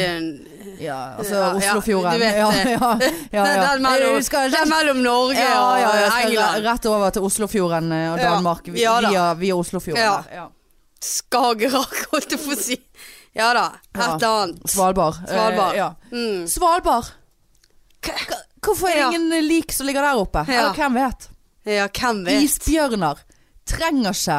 Speaker 2: eh,
Speaker 1: ja, altså
Speaker 2: ja, ja,
Speaker 1: Oslofjorden.
Speaker 2: du vet
Speaker 1: ja,
Speaker 2: det.
Speaker 1: ja, ja, ja.
Speaker 2: Den mellom,
Speaker 1: Jeg husker-
Speaker 2: den mellom Norge
Speaker 1: ja, ja, jeg
Speaker 2: og
Speaker 1: skal re-
Speaker 2: England.
Speaker 1: Rett over til Oslofjorden eh, og
Speaker 2: Ja.
Speaker 1: Danmark. Vi-
Speaker 2: Ja da.
Speaker 1: via, via Oslofjorden.
Speaker 2: Ja.
Speaker 1: der, Ja.
Speaker 2: Skagerrak, holdt jeg på å si. Ja da. Et
Speaker 1: Ja.
Speaker 2: eller annet.
Speaker 1: Svalbard. eh,
Speaker 2: Svalbard.
Speaker 1: ja.
Speaker 2: Mm.
Speaker 1: Svalbard. Hvorfor er det
Speaker 2: Ja.
Speaker 1: ingen eh, lik som ligger der oppe?
Speaker 2: Ja.
Speaker 1: Eller hvem vet?
Speaker 2: Ja, hvem vet?
Speaker 1: Isbjørner trenger ikke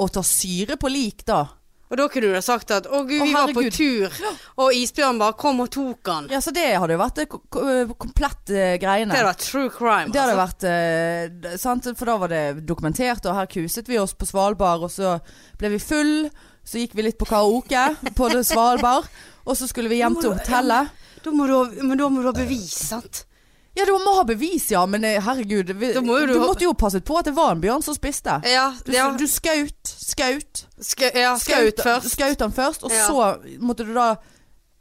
Speaker 1: å ta syre på lik da.
Speaker 2: Og da kunne du ha sagt at 'Å gud,
Speaker 1: Å,
Speaker 2: vi var på
Speaker 1: herregud.
Speaker 2: tur', og isbjørnen bare kom og tok han.
Speaker 1: Ja, så det hadde jo vært det ko- ko- komplett eh, greiene.
Speaker 2: Det hadde vært true crime.
Speaker 1: Det hadde
Speaker 2: altså.
Speaker 1: vært eh, d- sant? For da var det dokumentert, og her kuset vi oss på Svalbard, og så ble vi full, så gikk vi litt på karaoke på det Svalbard, og så skulle vi hjem til hotellet.
Speaker 2: Da må du, ha- men da må du ha bevis, sant?
Speaker 1: Ja, du må ha bevis, ja, men eh, herregud, vi,
Speaker 2: Da
Speaker 1: du,
Speaker 2: må jo du ha-
Speaker 1: måtte jo passet på at det var en bjørn som spiste.
Speaker 2: Ja,
Speaker 1: Du,
Speaker 2: ja.
Speaker 1: du skaut, skaut,
Speaker 2: Ska, ja, skaut først.
Speaker 1: skaut han først, og
Speaker 2: Ja.
Speaker 1: så måtte du da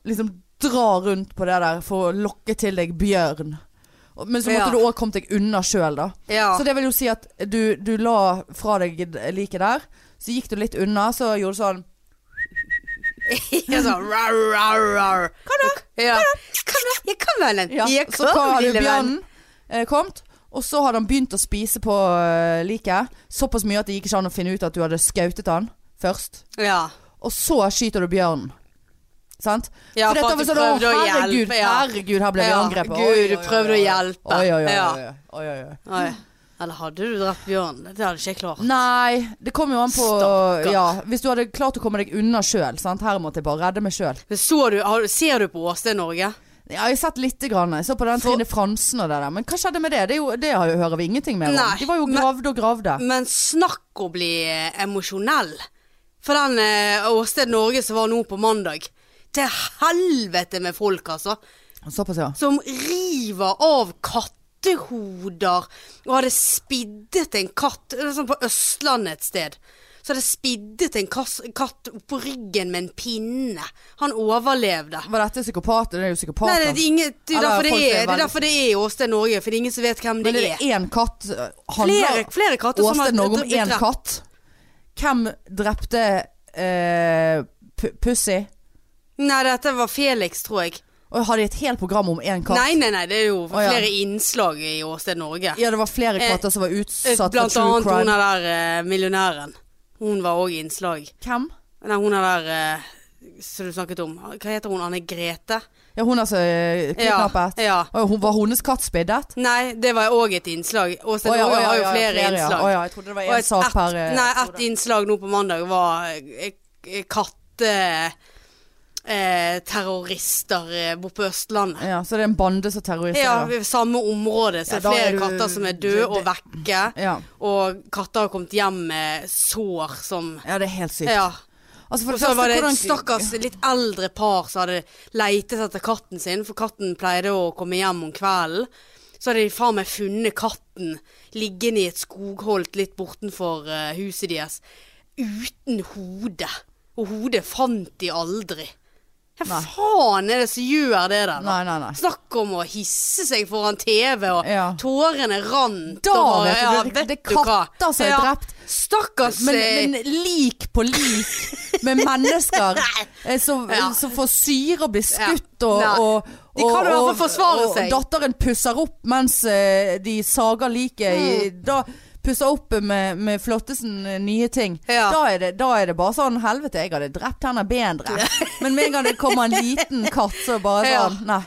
Speaker 1: liksom dra rundt på det der for å lokke til deg bjørn. Og- Men så måtte
Speaker 2: Ja.
Speaker 1: du òg komme deg unna sjøl, da.
Speaker 2: Ja.
Speaker 1: Så det vil jo si at du, du la fra deg liket der, så gikk du litt unna, så gjorde du sånn
Speaker 2: Ja, sånn rar, rar, rar. Hva da? Ja. Hva da? Jeg kan vel en. Jeg
Speaker 1: Så hadde
Speaker 2: lille venn.
Speaker 1: bjørnen eh, kommet, og så hadde han begynt å spise på eh, liket. Såpass mye at det gikk ikke an å finne ut at du hadde skautet han først.
Speaker 2: Ja.
Speaker 1: Og så skyter du bjørnen. Sant?
Speaker 2: Ja,
Speaker 1: for dette
Speaker 2: at
Speaker 1: var
Speaker 2: du
Speaker 1: sånn Å,
Speaker 2: prøvde å
Speaker 1: herregud,
Speaker 2: hjelpe, ja.
Speaker 1: herregud, her ble vi
Speaker 2: Ja,
Speaker 1: angrepet.
Speaker 2: Gud,
Speaker 1: Oi,
Speaker 2: du
Speaker 1: oi, oi,
Speaker 2: prøvde å
Speaker 1: oi.
Speaker 2: hjelpe.
Speaker 1: Oi, oi, oi,
Speaker 2: Ja.
Speaker 1: oi, oi, oi, oi.
Speaker 2: Oi. Eller hadde du drept bjørnen? Det hadde ikke jeg klart.
Speaker 1: Nei, det kommer jo an på
Speaker 2: Stakkar.
Speaker 1: ja, Hvis du hadde klart å komme deg unna sjøl. Her måtte jeg bare redde meg sjøl.
Speaker 2: Men så du, har, ser du på Åsted Norge?
Speaker 1: Ja, jeg har sett lite grann. Jeg så på den
Speaker 2: For-
Speaker 1: Trine Fransen og det der. Men hva skjedde med det? Det, er jo, det har jo- hører vi ingenting mer om.
Speaker 2: Nei,
Speaker 1: De var jo
Speaker 2: men-
Speaker 1: gravd og gravde.
Speaker 2: Men snakk å bli eh, emosjonell. For den eh, Åsted Norge som var nå på mandag. Til helvete med folk, altså.
Speaker 1: Såpass, ja.
Speaker 2: Som river av kattehoder. Og hadde spiddet en katt det er sånn På Østlandet et sted. Så hadde spiddet en kass, katt på ryggen med en pinne. Han overlevde.
Speaker 1: Var dette psykopater? Det er jo
Speaker 2: Nei,
Speaker 1: psykopater.
Speaker 2: det er, ingen, det er
Speaker 1: Eller
Speaker 2: derfor det
Speaker 1: folk
Speaker 2: er,
Speaker 1: er
Speaker 2: det er
Speaker 1: veldig-
Speaker 2: derfor det er Åsted Norge, for det er ingen som vet hvem det
Speaker 1: Men er det
Speaker 2: er.
Speaker 1: én katt? øh,
Speaker 2: Flere,
Speaker 1: Handler
Speaker 2: flere katter som har
Speaker 1: Åsted Norge om
Speaker 2: blitt
Speaker 1: én
Speaker 2: drept.
Speaker 1: katt? Hvem drepte eh, P- Pussy?
Speaker 2: Nei, dette var Felix, tror jeg.
Speaker 1: Og har de et helt program om én katt?
Speaker 2: Nei, nei, nei, det er jo
Speaker 1: ja.
Speaker 2: flere innslag i Åsted Norge.
Speaker 1: Ja, det var flere
Speaker 2: Eh,
Speaker 1: katter som var
Speaker 2: Eh,
Speaker 1: utsatt for
Speaker 2: Blant
Speaker 1: true
Speaker 2: annet hun
Speaker 1: crime.
Speaker 2: er der eh, millionæren. Hun var òg innslag.
Speaker 1: Hvem?
Speaker 2: Nei, hun er der eh, som du snakket om. Hva heter hun? Anne Grete?
Speaker 1: Ja, hun er så øh, kidnappet.
Speaker 2: Ja. ja.
Speaker 1: Å, hun, var hennes katt spiddet?
Speaker 2: Nei, det var òg et innslag. Åsted
Speaker 1: Å ja, å
Speaker 2: Norge
Speaker 1: ja,
Speaker 2: har jo
Speaker 1: ja,
Speaker 2: flere, innslag.
Speaker 1: Ja. Å ja, jeg trodde det var
Speaker 2: Og
Speaker 1: én
Speaker 2: et-
Speaker 1: sak
Speaker 2: ett-
Speaker 1: per eh,
Speaker 2: Nei,
Speaker 1: episode.
Speaker 2: ett innslag nå på mandag var eh, eh, katte... Eh, terrorister eh, bor på Østlandet.
Speaker 1: Ja, så det er en bande som terroriserer.
Speaker 2: Ja,
Speaker 1: Ja,
Speaker 2: i samme område. Så
Speaker 1: Ja,
Speaker 2: det
Speaker 1: da
Speaker 2: er
Speaker 1: er
Speaker 2: flere
Speaker 1: du-
Speaker 2: katter som er døde
Speaker 1: det-
Speaker 2: og vekke.
Speaker 1: ja.
Speaker 2: Og katter har kommet hjem med sår som
Speaker 1: det er helt sykt.
Speaker 2: Ja.
Speaker 1: Altså, for
Speaker 2: Og
Speaker 1: det
Speaker 2: så
Speaker 1: første,
Speaker 2: var det
Speaker 1: hvordan-
Speaker 2: et stakkars litt eldre par som hadde leitet etter katten sin, for katten pleide å komme hjem om kvelden. Så hadde de faen meg funnet katten liggende i et skogholt litt bortenfor eh, huset deres, uten hode. Og hodet fant de aldri. Hva
Speaker 1: Nei.
Speaker 2: faen er det som gjør det der? da?
Speaker 1: Nei, nei, nei.
Speaker 2: Snakk om å hisse seg foran TV, og
Speaker 1: Ja.
Speaker 2: tårene rant.
Speaker 1: Da
Speaker 2: og,
Speaker 1: vet du,
Speaker 2: ja,
Speaker 1: det- det er
Speaker 2: du hva?
Speaker 1: katter som er drept.
Speaker 2: Stakkars
Speaker 1: Men,
Speaker 2: eh,
Speaker 1: men lik på lik med mennesker eh, som,
Speaker 2: Ja.
Speaker 1: som får syre og blir skutt
Speaker 2: Ja.
Speaker 1: og,
Speaker 2: Nei.
Speaker 1: og
Speaker 2: De kan i hvert fall
Speaker 1: og-
Speaker 2: forsvare
Speaker 1: og
Speaker 2: seg.
Speaker 1: datteren pusser opp mens eh, de sager liket i
Speaker 2: Mm.
Speaker 1: Da pusser opp med, med flottesen eh, nye ting.
Speaker 2: Ja.
Speaker 1: Da, er det, da er det bare sånn Helvete, jeg hadde drept henne bedre. Men med en gang det kommer en liten katt, så bare
Speaker 2: Ja.
Speaker 1: sånn Nei.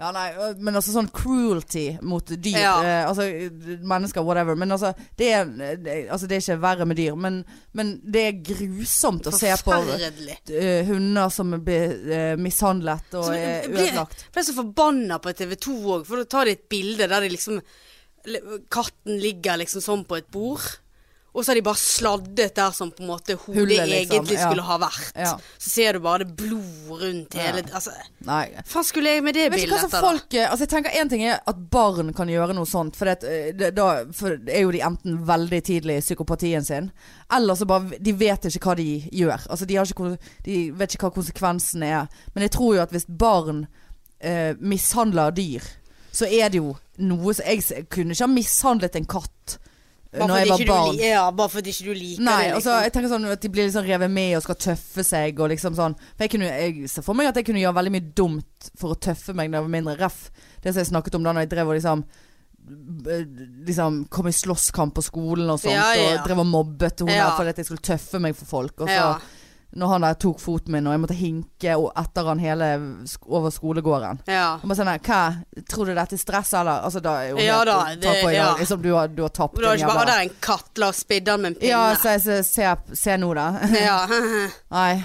Speaker 1: Ja, nei, øh, men altså sånn cruelty mot dyr.
Speaker 2: Ja.
Speaker 1: Eh, altså øh, mennesker, whatever. Men altså det, er, det, altså, det er ikke verre med dyr. Men, men det er grusomt å se på
Speaker 2: eh, Forferdelig.
Speaker 1: øh, hunder som blir øh, mishandlet og eh,
Speaker 2: Så
Speaker 1: er
Speaker 2: jeg ble-
Speaker 1: ødelagt.
Speaker 2: Jeg ble så forbanna på TV 2 òg, for da tar de et bilde der de liksom le- Katten ligger liksom sånn på et bord, og så har de bare sladdet der som på en måte hodet
Speaker 1: Hullet, liksom,
Speaker 2: egentlig
Speaker 1: ja.
Speaker 2: skulle ha vært.
Speaker 1: Ja.
Speaker 2: Så ser du bare det blod rundt hele Altså,
Speaker 1: Nei.
Speaker 2: faen skulle jeg med det
Speaker 1: Jeg vet ikke hva
Speaker 2: bildet
Speaker 1: som
Speaker 2: etter, da?
Speaker 1: folk eh, Altså jeg tenker En ting er at barn kan gjøre noe sånt, for det, at, eh, det, da for det er jo de enten veldig tidlig i psykopatien sin, eller så bare De vet ikke hva de gjør. Altså De, har ikke, kon- de vet ikke hva konsekvensen er. Men jeg tror jo at hvis barn eh, mishandler dyr, så er det jo noe som Jeg s- kunne ikke ha mishandlet en katt eh,
Speaker 2: Bare
Speaker 1: når jeg
Speaker 2: fordi
Speaker 1: var
Speaker 2: ikke du
Speaker 1: barn.
Speaker 2: li- Ja, bare fordi ikke du liker
Speaker 1: Nei,
Speaker 2: det. liksom.
Speaker 1: altså jeg tenker sånn at de blir liksom revet med og skal tøffe seg og liksom sånn. For jeg, kunne, jeg ser for meg at jeg kunne gjøre veldig mye dumt for å tøffe meg da jeg var mindre ref. Det som jeg snakket om da når jeg drev og liksom b- liksom kom i slåsskamp på skolen og sånt,
Speaker 2: Ja, ja.
Speaker 1: og drev og mobbet hun
Speaker 2: Ja.
Speaker 1: her fordi at jeg skulle tøffe meg for folk. Og så
Speaker 2: Ja.
Speaker 1: Når han der tok foten min, og jeg måtte hinke og- etter han hele sk over skolegården.
Speaker 2: Ja.
Speaker 1: Han bare sånn her, hva? Tror du dette er stress, eller? Altså, da er jo
Speaker 2: Ja
Speaker 1: helt å
Speaker 2: da,
Speaker 1: ta
Speaker 2: det-
Speaker 1: på i
Speaker 2: ja.
Speaker 1: dag. Liksom, du har, du har tapt
Speaker 2: Og da er det
Speaker 1: din
Speaker 2: ikke bare «Å,
Speaker 1: jævla-
Speaker 2: der er en katt, la oss spidde den med en pinne.
Speaker 1: Ja, se, se, se, se nå, da.
Speaker 2: Ja.
Speaker 1: Nei.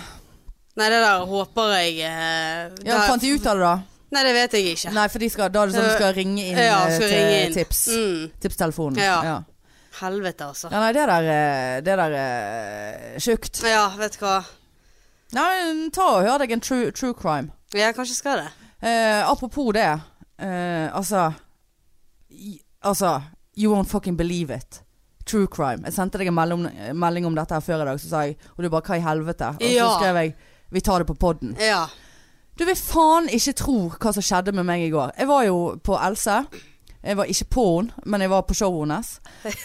Speaker 2: Nei, det der håper jeg eh,
Speaker 1: Ja,
Speaker 2: der-
Speaker 1: fant de ut av det, da?
Speaker 2: Nei, det vet jeg ikke.
Speaker 1: Nei, for de skal, da er det sånn du skal ringe inn
Speaker 2: ja,
Speaker 1: eh,
Speaker 2: skal
Speaker 1: til
Speaker 2: ringe inn.
Speaker 1: tips.
Speaker 2: Mm.
Speaker 1: Tipstelefonen.
Speaker 2: Ja.
Speaker 1: Ja.
Speaker 2: Helvete, altså.
Speaker 1: Ja, nei, det der eh, Det der er sjukt.
Speaker 2: Ja, vet du hva.
Speaker 1: Nei, ta og hør deg en true, true crime.
Speaker 2: Jeg kanskje skal det.
Speaker 1: Eh, apropos det. Eh, altså i, Altså You won't fucking believe it. True crime. Jeg sendte deg en melding, melding om dette her før i dag, så sa jeg Og du bare 'hva i helvete?' Og så
Speaker 2: Ja.
Speaker 1: skrev jeg 'vi tar det på podden'.
Speaker 2: Ja.
Speaker 1: Du vil faen ikke tro hva som skjedde med meg i går. Jeg var jo på Else. Jeg var ikke på henne, men jeg var på showet hennes.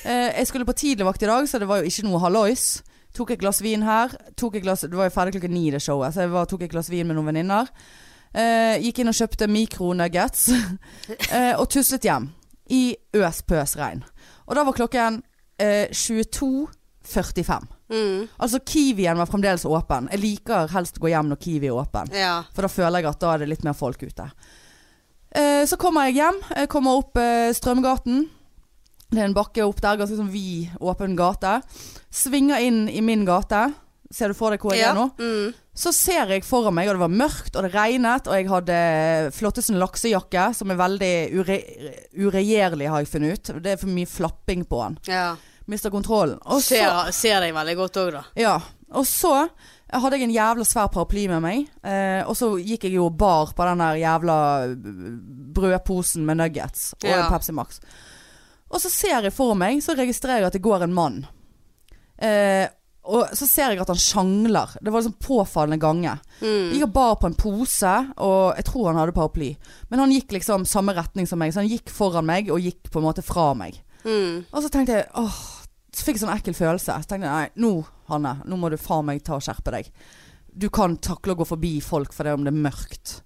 Speaker 1: Eh, jeg skulle på tidligvakt i dag, så det var jo ikke noe hallois. Tok et glass vin her. Tok et glass, det var jo ferdig klokken ni, det showet, så jeg var, tok et glass vin med noen venninner. Eh, gikk inn og kjøpte mikronuggets. eh, og tuslet hjem i øspøs regn. Og da var klokken eh, 22.45.
Speaker 2: Mm.
Speaker 1: Altså Kiwien var fremdeles åpen. Jeg liker helst å gå hjem når Kiwi er åpen.
Speaker 2: Ja.
Speaker 1: For da føler jeg at da er det litt mer folk ute. Eh, så kommer jeg hjem. Jeg kommer opp eh, Strømgaten. Det er en bakke opp der, ganske sånn vid, åpen gate. Svinger inn i min gate. Ser du for deg hvor jeg
Speaker 2: ja.
Speaker 1: er nå?
Speaker 2: Mm.
Speaker 1: Så ser jeg foran meg, og det var mørkt, og det regnet, og jeg hadde flottesen laksejakke, som er veldig ure uregjerlig, har jeg funnet ut. Det er for mye flapping på den.
Speaker 2: ja.
Speaker 1: Mister kontrollen. Og så-
Speaker 2: ser, ser deg veldig godt òg, da.
Speaker 1: ja, og så hadde jeg en jævla svær paraply med meg. Eh, og så gikk jeg jo bar på den der jævla eh, brødposen med nuggets og
Speaker 2: Ja.
Speaker 1: en Pepsi Max. Og så ser jeg for meg, så registrerer jeg at det går en mann. Eh, og så ser jeg at han sjangler. Det var liksom påfallende gange.
Speaker 2: Mm.
Speaker 1: Gikk og bar på en pose, og jeg tror han hadde paraply. Men han gikk liksom samme retning som meg, så han gikk foran meg og gikk på en måte fra meg.
Speaker 2: Mm.
Speaker 1: Og så tenkte jeg, åh, så fikk jeg sånn ekkel følelse. Så tenkte jeg, nei, nå, Hanne, nå må du faen meg ta og skjerpe deg. Du kan takle å gå forbi folk for det om det er mørkt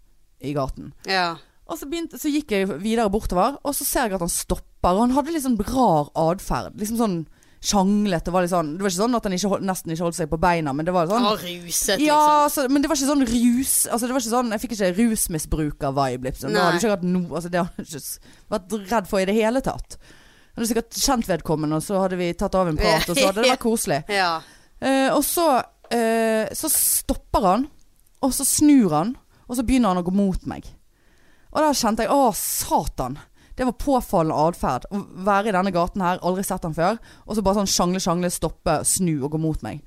Speaker 1: i gaten.
Speaker 2: Ja.
Speaker 1: Og så, begynte, så gikk jeg videre bortover, og så ser jeg at han stopper. Og han hadde litt sånn rar atferd. Liksom sånn sjanglet. Det var, litt sånn, det var ikke sånn at han ikke, hold- nesten ikke holdt seg på beina, men det var
Speaker 2: Han
Speaker 1: sånn
Speaker 2: var ruset, liksom.
Speaker 1: ja, altså, men det var ikke sånn rus altså, det var ikke sånn, Jeg fikk ikke rusmisbruker-vibe. Liksom. Da
Speaker 2: Nei.
Speaker 1: hadde du ikke hatt noe altså, Det hadde jeg ikke s- vært redd for i det hele tatt. Jeg hadde sikkert kjent vedkommende, og så hadde vi tatt av en prat, og så hadde det vært koselig.
Speaker 2: Ja.
Speaker 1: Eh, og så, eh, så stopper han, og så snur han, og så begynner han å gå mot meg. Og da kjente jeg å, satan. Det var påfallende atferd. Å være i denne gaten her, aldri sett han før. Og så bare sånn sjangle, sjangle, stoppe, snu og gå mot meg.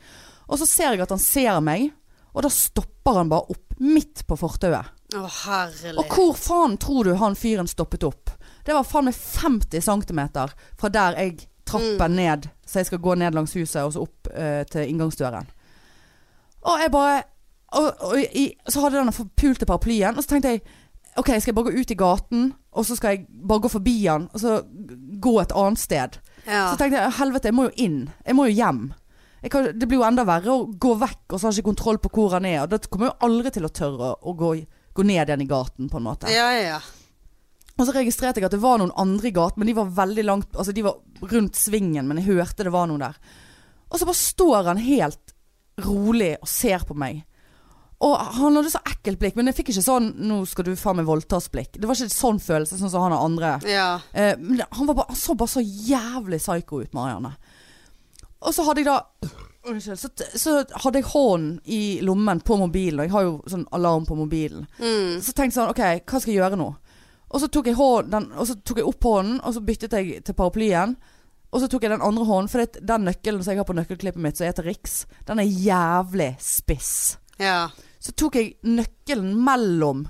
Speaker 1: Og så ser jeg at han ser meg, og da stopper han bare opp midt på fortauet.
Speaker 2: Å, herlig.
Speaker 1: Og hvor faen tror du han fyren stoppet opp? Det var faen meg 50 cm fra der jeg trapper ned, så jeg skal gå ned langs huset og så opp eh, til inngangsdøren. Og jeg bare og, og, i, Så hadde jeg den forpulte paraplyen, og så tenkte jeg OK, skal jeg bare gå ut i gaten, og så skal jeg bare gå forbi han, og så gå et annet sted?
Speaker 2: Ja.
Speaker 1: Så tenkte jeg helvete, jeg må jo inn. Jeg må jo hjem. Jeg kan, det blir jo enda verre å gå vekk, og så har jeg ikke kontroll på hvor han er. Og da kommer jeg jo aldri til å tørre å gå, gå ned igjen i gaten, på en måte.
Speaker 2: ja, ja, ja.
Speaker 1: Og så registrerte jeg at det var noen andre i gaten, men de var veldig langt Altså de var rundt svingen, men jeg hørte det var noen der. Og så bare står han helt rolig og ser på meg. Og han hadde så ekkelt blikk, men jeg fikk ikke sånn 'nå skal du faen meg voldtas'-blikk. Det var ikke sånn følelse, sånn som han og andre.
Speaker 2: ja.
Speaker 1: Eh, men det- han, var bare, han så bare så jævlig psyko ut, Marianne. Og så hadde jeg da Unnskyld. Så, så hadde jeg hånden i lommen på mobilen, og jeg har jo sånn alarm på mobilen.
Speaker 2: Mm.
Speaker 1: Så tenkte jeg sånn, ok, hva skal jeg gjøre nå? Og så tok jeg, hånd, den, og så tok jeg opp hånden, og så byttet jeg til paraplyen. Og så tok jeg den andre hånden, for det, den nøkkelen som jeg har på nøkkelklippet mitt, som heter Riks, den er jævlig spiss.
Speaker 2: Ja.
Speaker 1: Så tok jeg nøkkelen mellom,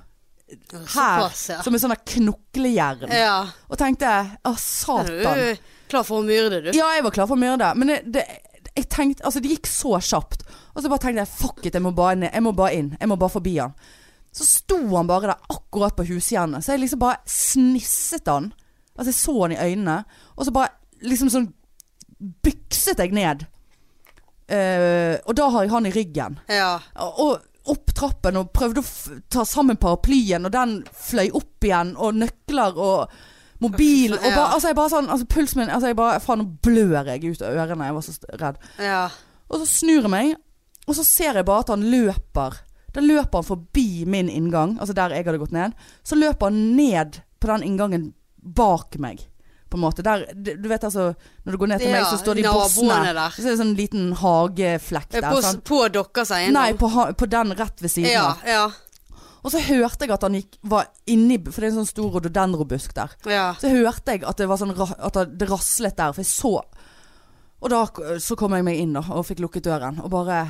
Speaker 2: Såpass, ja.
Speaker 1: som en sånn der knoklejern,
Speaker 2: ja.
Speaker 1: og tenkte, å
Speaker 2: Er
Speaker 1: satan.
Speaker 2: du klar for å myrde, du?
Speaker 1: Ja, jeg var klar for å myrde, men det, det, jeg tenkte, altså det gikk så kjapt. Og så bare tenkte jeg, fuck it, jeg må bare, ned, jeg må bare inn, jeg må bare forbi han. Så sto han bare der akkurat på hushjernet, så jeg liksom bare snisset han. Altså jeg så han i øynene, og så bare liksom sånn bykset jeg ned. Eh, og da har jeg han i ryggen.
Speaker 2: Ja.
Speaker 1: Og og opp trappen og prøvde å f ta sammen paraplyen, og den fløy opp igjen, og nøkler og mobil og bare,
Speaker 2: Ja.
Speaker 1: altså jeg bare sånn, altså Pulsen min altså jeg bare, Faen, nå blør jeg ut av ørene. Jeg var så st- redd.
Speaker 2: Ja.
Speaker 1: Og så snur jeg meg, Og så ser jeg bare at han løper. Da løper han forbi min inngang, altså der jeg hadde gått ned. Så løper han ned på den inngangen bak meg, på en måte. Der, du du vet altså, når du går ned til meg,
Speaker 2: Ja,
Speaker 1: så står de
Speaker 2: naboene
Speaker 1: bossene.
Speaker 2: der. Eh,
Speaker 1: Så er det sånn liten hageflekk der.
Speaker 2: På,
Speaker 1: sant?
Speaker 2: på deres eiendom?
Speaker 1: Nei, på, ha- på den rett ved siden
Speaker 2: ja,
Speaker 1: av.
Speaker 2: ja,
Speaker 1: Og så hørte jeg at han gikk, var inni For det er en sånn stor rododendrobusk der.
Speaker 2: ja.
Speaker 1: Så hørte jeg at det, var sånn, ra- at det raslet der, for jeg så Og da k- så kom jeg meg inn da, og fikk lukket døren, og bare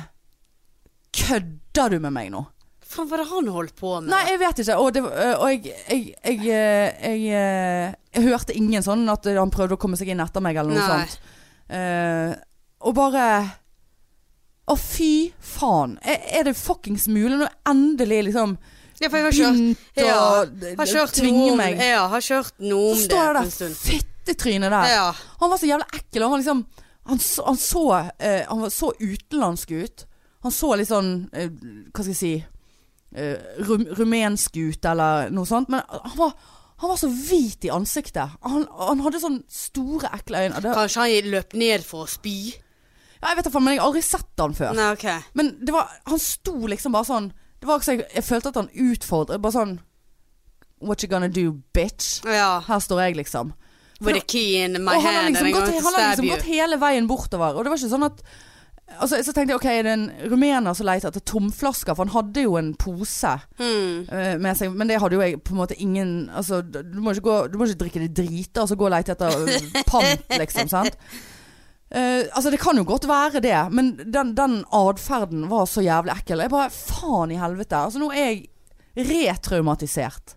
Speaker 1: Kødder du med meg nå?
Speaker 2: Faen, hva er det han holdt på med?
Speaker 1: Nei, jeg vet ikke. Og, det, øh, og jeg, jeg, jeg, øh, jeg, jeg, jeg hørte ingen sånn at han prøvde å komme seg inn etter meg, eller noe
Speaker 2: Nei.
Speaker 1: sånt. Eh, og bare Å, fy faen. Er, er det fuckings mulig? Nå endelig liksom
Speaker 2: ja, for jeg har kjørt,
Speaker 1: begynt å
Speaker 2: Ja,
Speaker 1: d-
Speaker 2: har
Speaker 1: d-
Speaker 2: kjørt noe
Speaker 1: tvinge
Speaker 2: om,
Speaker 1: meg.
Speaker 2: Ja, har kjørt noe
Speaker 1: Eh, Så
Speaker 2: om det
Speaker 1: står jeg
Speaker 2: for en
Speaker 1: der,
Speaker 2: stund.
Speaker 1: fittetrynet der.
Speaker 2: Ja,
Speaker 1: Han var så jævlig ekkel. og Han var liksom Han så, han så, eh, han var- så utenlandsk ut. Han så litt sånn eh, Hva skal jeg si eh, rum, Rumensk ut, eller noe sånt. Men han var, han var så hvit i ansiktet. Han, han hadde sånn store, ekle øyne. Det,
Speaker 2: kanskje han løp ned for å spy?
Speaker 1: ja, jeg vet da faen, men jeg har aldri sett han før.
Speaker 2: Nei, ok.
Speaker 1: Men det var Han sto liksom bare sånn Det var ikke så jeg, jeg følte at han utfordret. Bare sånn What you gonna do, bitch?
Speaker 2: Ja.
Speaker 1: Her står jeg, liksom.
Speaker 2: With a key in my
Speaker 1: Og han har
Speaker 2: hand
Speaker 1: liksom,
Speaker 2: and I'm
Speaker 1: gått,
Speaker 2: going to
Speaker 1: han har
Speaker 2: stab
Speaker 1: liksom
Speaker 2: you.
Speaker 1: gått hele veien bortover. Og det var ikke sånn at altså, Så tenkte jeg ok, er det en rumener som leter etter tomflasker? For han hadde jo en pose
Speaker 2: Hmm.
Speaker 1: eh, med seg, men det hadde jo jeg på en måte ingen Altså, d- du må ikke, gå, du må ikke drikke det drita og så gå og lete etter eh, pant, liksom. Sant? Eh, altså, det kan jo godt være det, men den, den atferden var så jævlig ekkel. Jeg bare Faen i helvete. Altså, nå er jeg retraumatisert.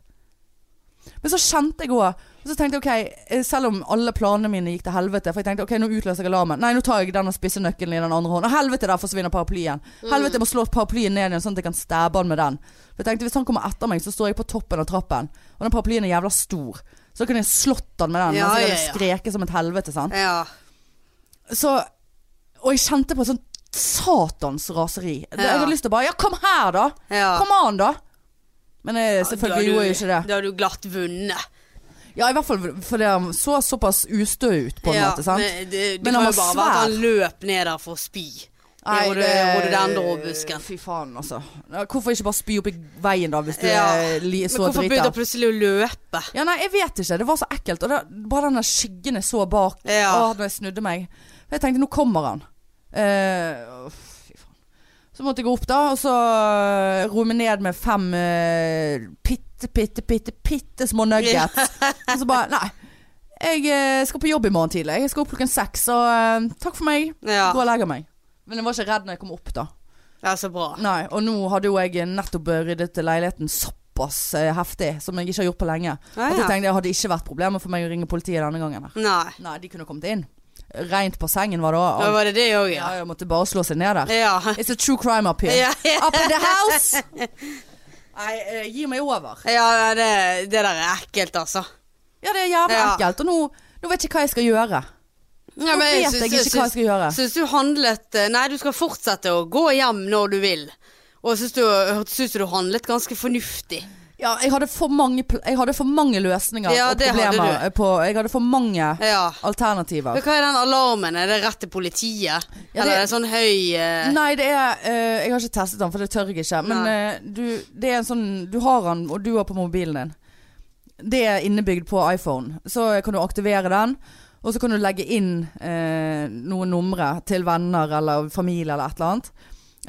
Speaker 1: Men så kjente jeg òg og så tenkte jeg, ok, eh, Selv om alle planene mine gikk til helvete For jeg tenkte ok, nå utløser jeg alarmen. Nei, nå tar jeg den og spisser nøkkelen i den andre hånden. Og helvete, der forsvinner paraplyen.
Speaker 2: Mm.
Speaker 1: Helvete, jeg må slå paraplyen ned igjen, sånn at jeg kan stabbe han med den. For jeg tenkte Hvis han kommer etter meg, så står jeg på toppen av trappen. Og den paraplyen er jævla stor. Så da kunne jeg slått han med den.
Speaker 2: Ja,
Speaker 1: mens jeg
Speaker 2: ja,
Speaker 1: hadde
Speaker 2: ja.
Speaker 1: skreket som et helvete. sant?
Speaker 2: Ja.
Speaker 1: Så Og jeg kjente på et sånt satans raseri. Det-
Speaker 2: Ja.
Speaker 1: Jeg hadde lyst til å bare Ja, kom her, da!
Speaker 2: ja.
Speaker 1: Kom an, da! Men jeg, selvfølgelig
Speaker 2: Da har
Speaker 1: gjorde
Speaker 2: du-
Speaker 1: jeg ikke det.
Speaker 2: Da har du glatt vunnet.
Speaker 1: Ja, i hvert fall fordi han så såpass ustø ut, på en måte. sant?
Speaker 2: Men, det, det
Speaker 1: Men
Speaker 2: kan
Speaker 1: han
Speaker 2: jo
Speaker 1: var
Speaker 2: bare være at
Speaker 1: svær.
Speaker 2: han løp ned der for å spy.
Speaker 1: Nei,
Speaker 2: Nei, det
Speaker 1: det-
Speaker 2: rododendrobusken.
Speaker 1: Fy faen, altså. Ja, Hvorfor ikke bare spy opp i veien, da, hvis du
Speaker 2: Ja.
Speaker 1: er li-
Speaker 2: Men
Speaker 1: så
Speaker 2: hvorfor begynte
Speaker 1: drita?
Speaker 2: han plutselig å løpe?
Speaker 1: Ja, nei, jeg vet ikke. Det var så ekkelt. Og da, bare den der skyggen jeg så bak
Speaker 2: Ja.
Speaker 1: Åh, når jeg snudde meg. For jeg tenkte, nå kommer han. Eh, åh, fy faen. Så måtte jeg gå opp, da, og så eh, roe meg ned med fem eh, bitte, bitte, bitte, bitte små nuggets. og så bare Nei. Jeg eh, skal på jobb i morgen tidlig. Jeg skal opp klokken seks, så eh, takk for meg.
Speaker 2: Ja,
Speaker 1: Gå og legger meg. Men jeg var ikke redd når jeg kom opp, da.
Speaker 2: ja så bra.
Speaker 1: Nei, Og nå hadde jo jeg nettopp ryddet leiligheten såpass eh, heftig, som jeg ikke har gjort på lenge.
Speaker 2: Ja,
Speaker 1: At jeg
Speaker 2: Ah, ja.
Speaker 1: tenkte det hadde ikke vært problemer for meg å ringe politiet denne gangen. her
Speaker 2: Nei.
Speaker 1: Nei, de kunne kommet inn. Rent på sengen var det
Speaker 2: Da
Speaker 1: òg.
Speaker 2: var det det òg,
Speaker 1: Ja,
Speaker 2: ja.
Speaker 1: jeg måtte bare slå seg ned der.
Speaker 2: Ja.
Speaker 1: It's a true crime up here.
Speaker 2: Ja, ja.
Speaker 1: Up in the house! Nei, eh, gi meg over.
Speaker 2: ja det, det der er ekkelt, altså.
Speaker 1: Ja, det er jævlig
Speaker 2: Ja.
Speaker 1: ekkelt. Og nå, nå vet jeg ikke hva jeg skal gjøre.
Speaker 2: Ja,
Speaker 1: Nå
Speaker 2: men
Speaker 1: vet jeg
Speaker 2: syns-
Speaker 1: ikke hva jeg skal gjøre.
Speaker 2: Syns du handlet eh, Nei, du skal fortsette å gå hjem når du vil. Og jeg syns du hørtes ut som du handlet ganske fornuftig.
Speaker 1: Ja, jeg hadde for mange, pl jeg hadde for mange løsninger
Speaker 2: Ja,
Speaker 1: og
Speaker 2: det hadde
Speaker 1: problemer.
Speaker 2: du.
Speaker 1: eh, På, jeg hadde for mange
Speaker 2: Ja.
Speaker 1: alternativer.
Speaker 2: Men hva er den alarmen? Er det rett til politiet?
Speaker 1: Ja,
Speaker 2: Eller
Speaker 1: det-
Speaker 2: er det sånn høy eh,
Speaker 1: Nei, det er eh, Jeg har ikke testet den, for det tør jeg ikke. Men
Speaker 2: Nei.
Speaker 1: eh, du, det er en sånn Du har den, og du har på mobilen din. Det er innebygd på iPhone. Så kan du aktivere den. Og så kan du legge inn eh, noen numre til venner eller familie eller et eller annet.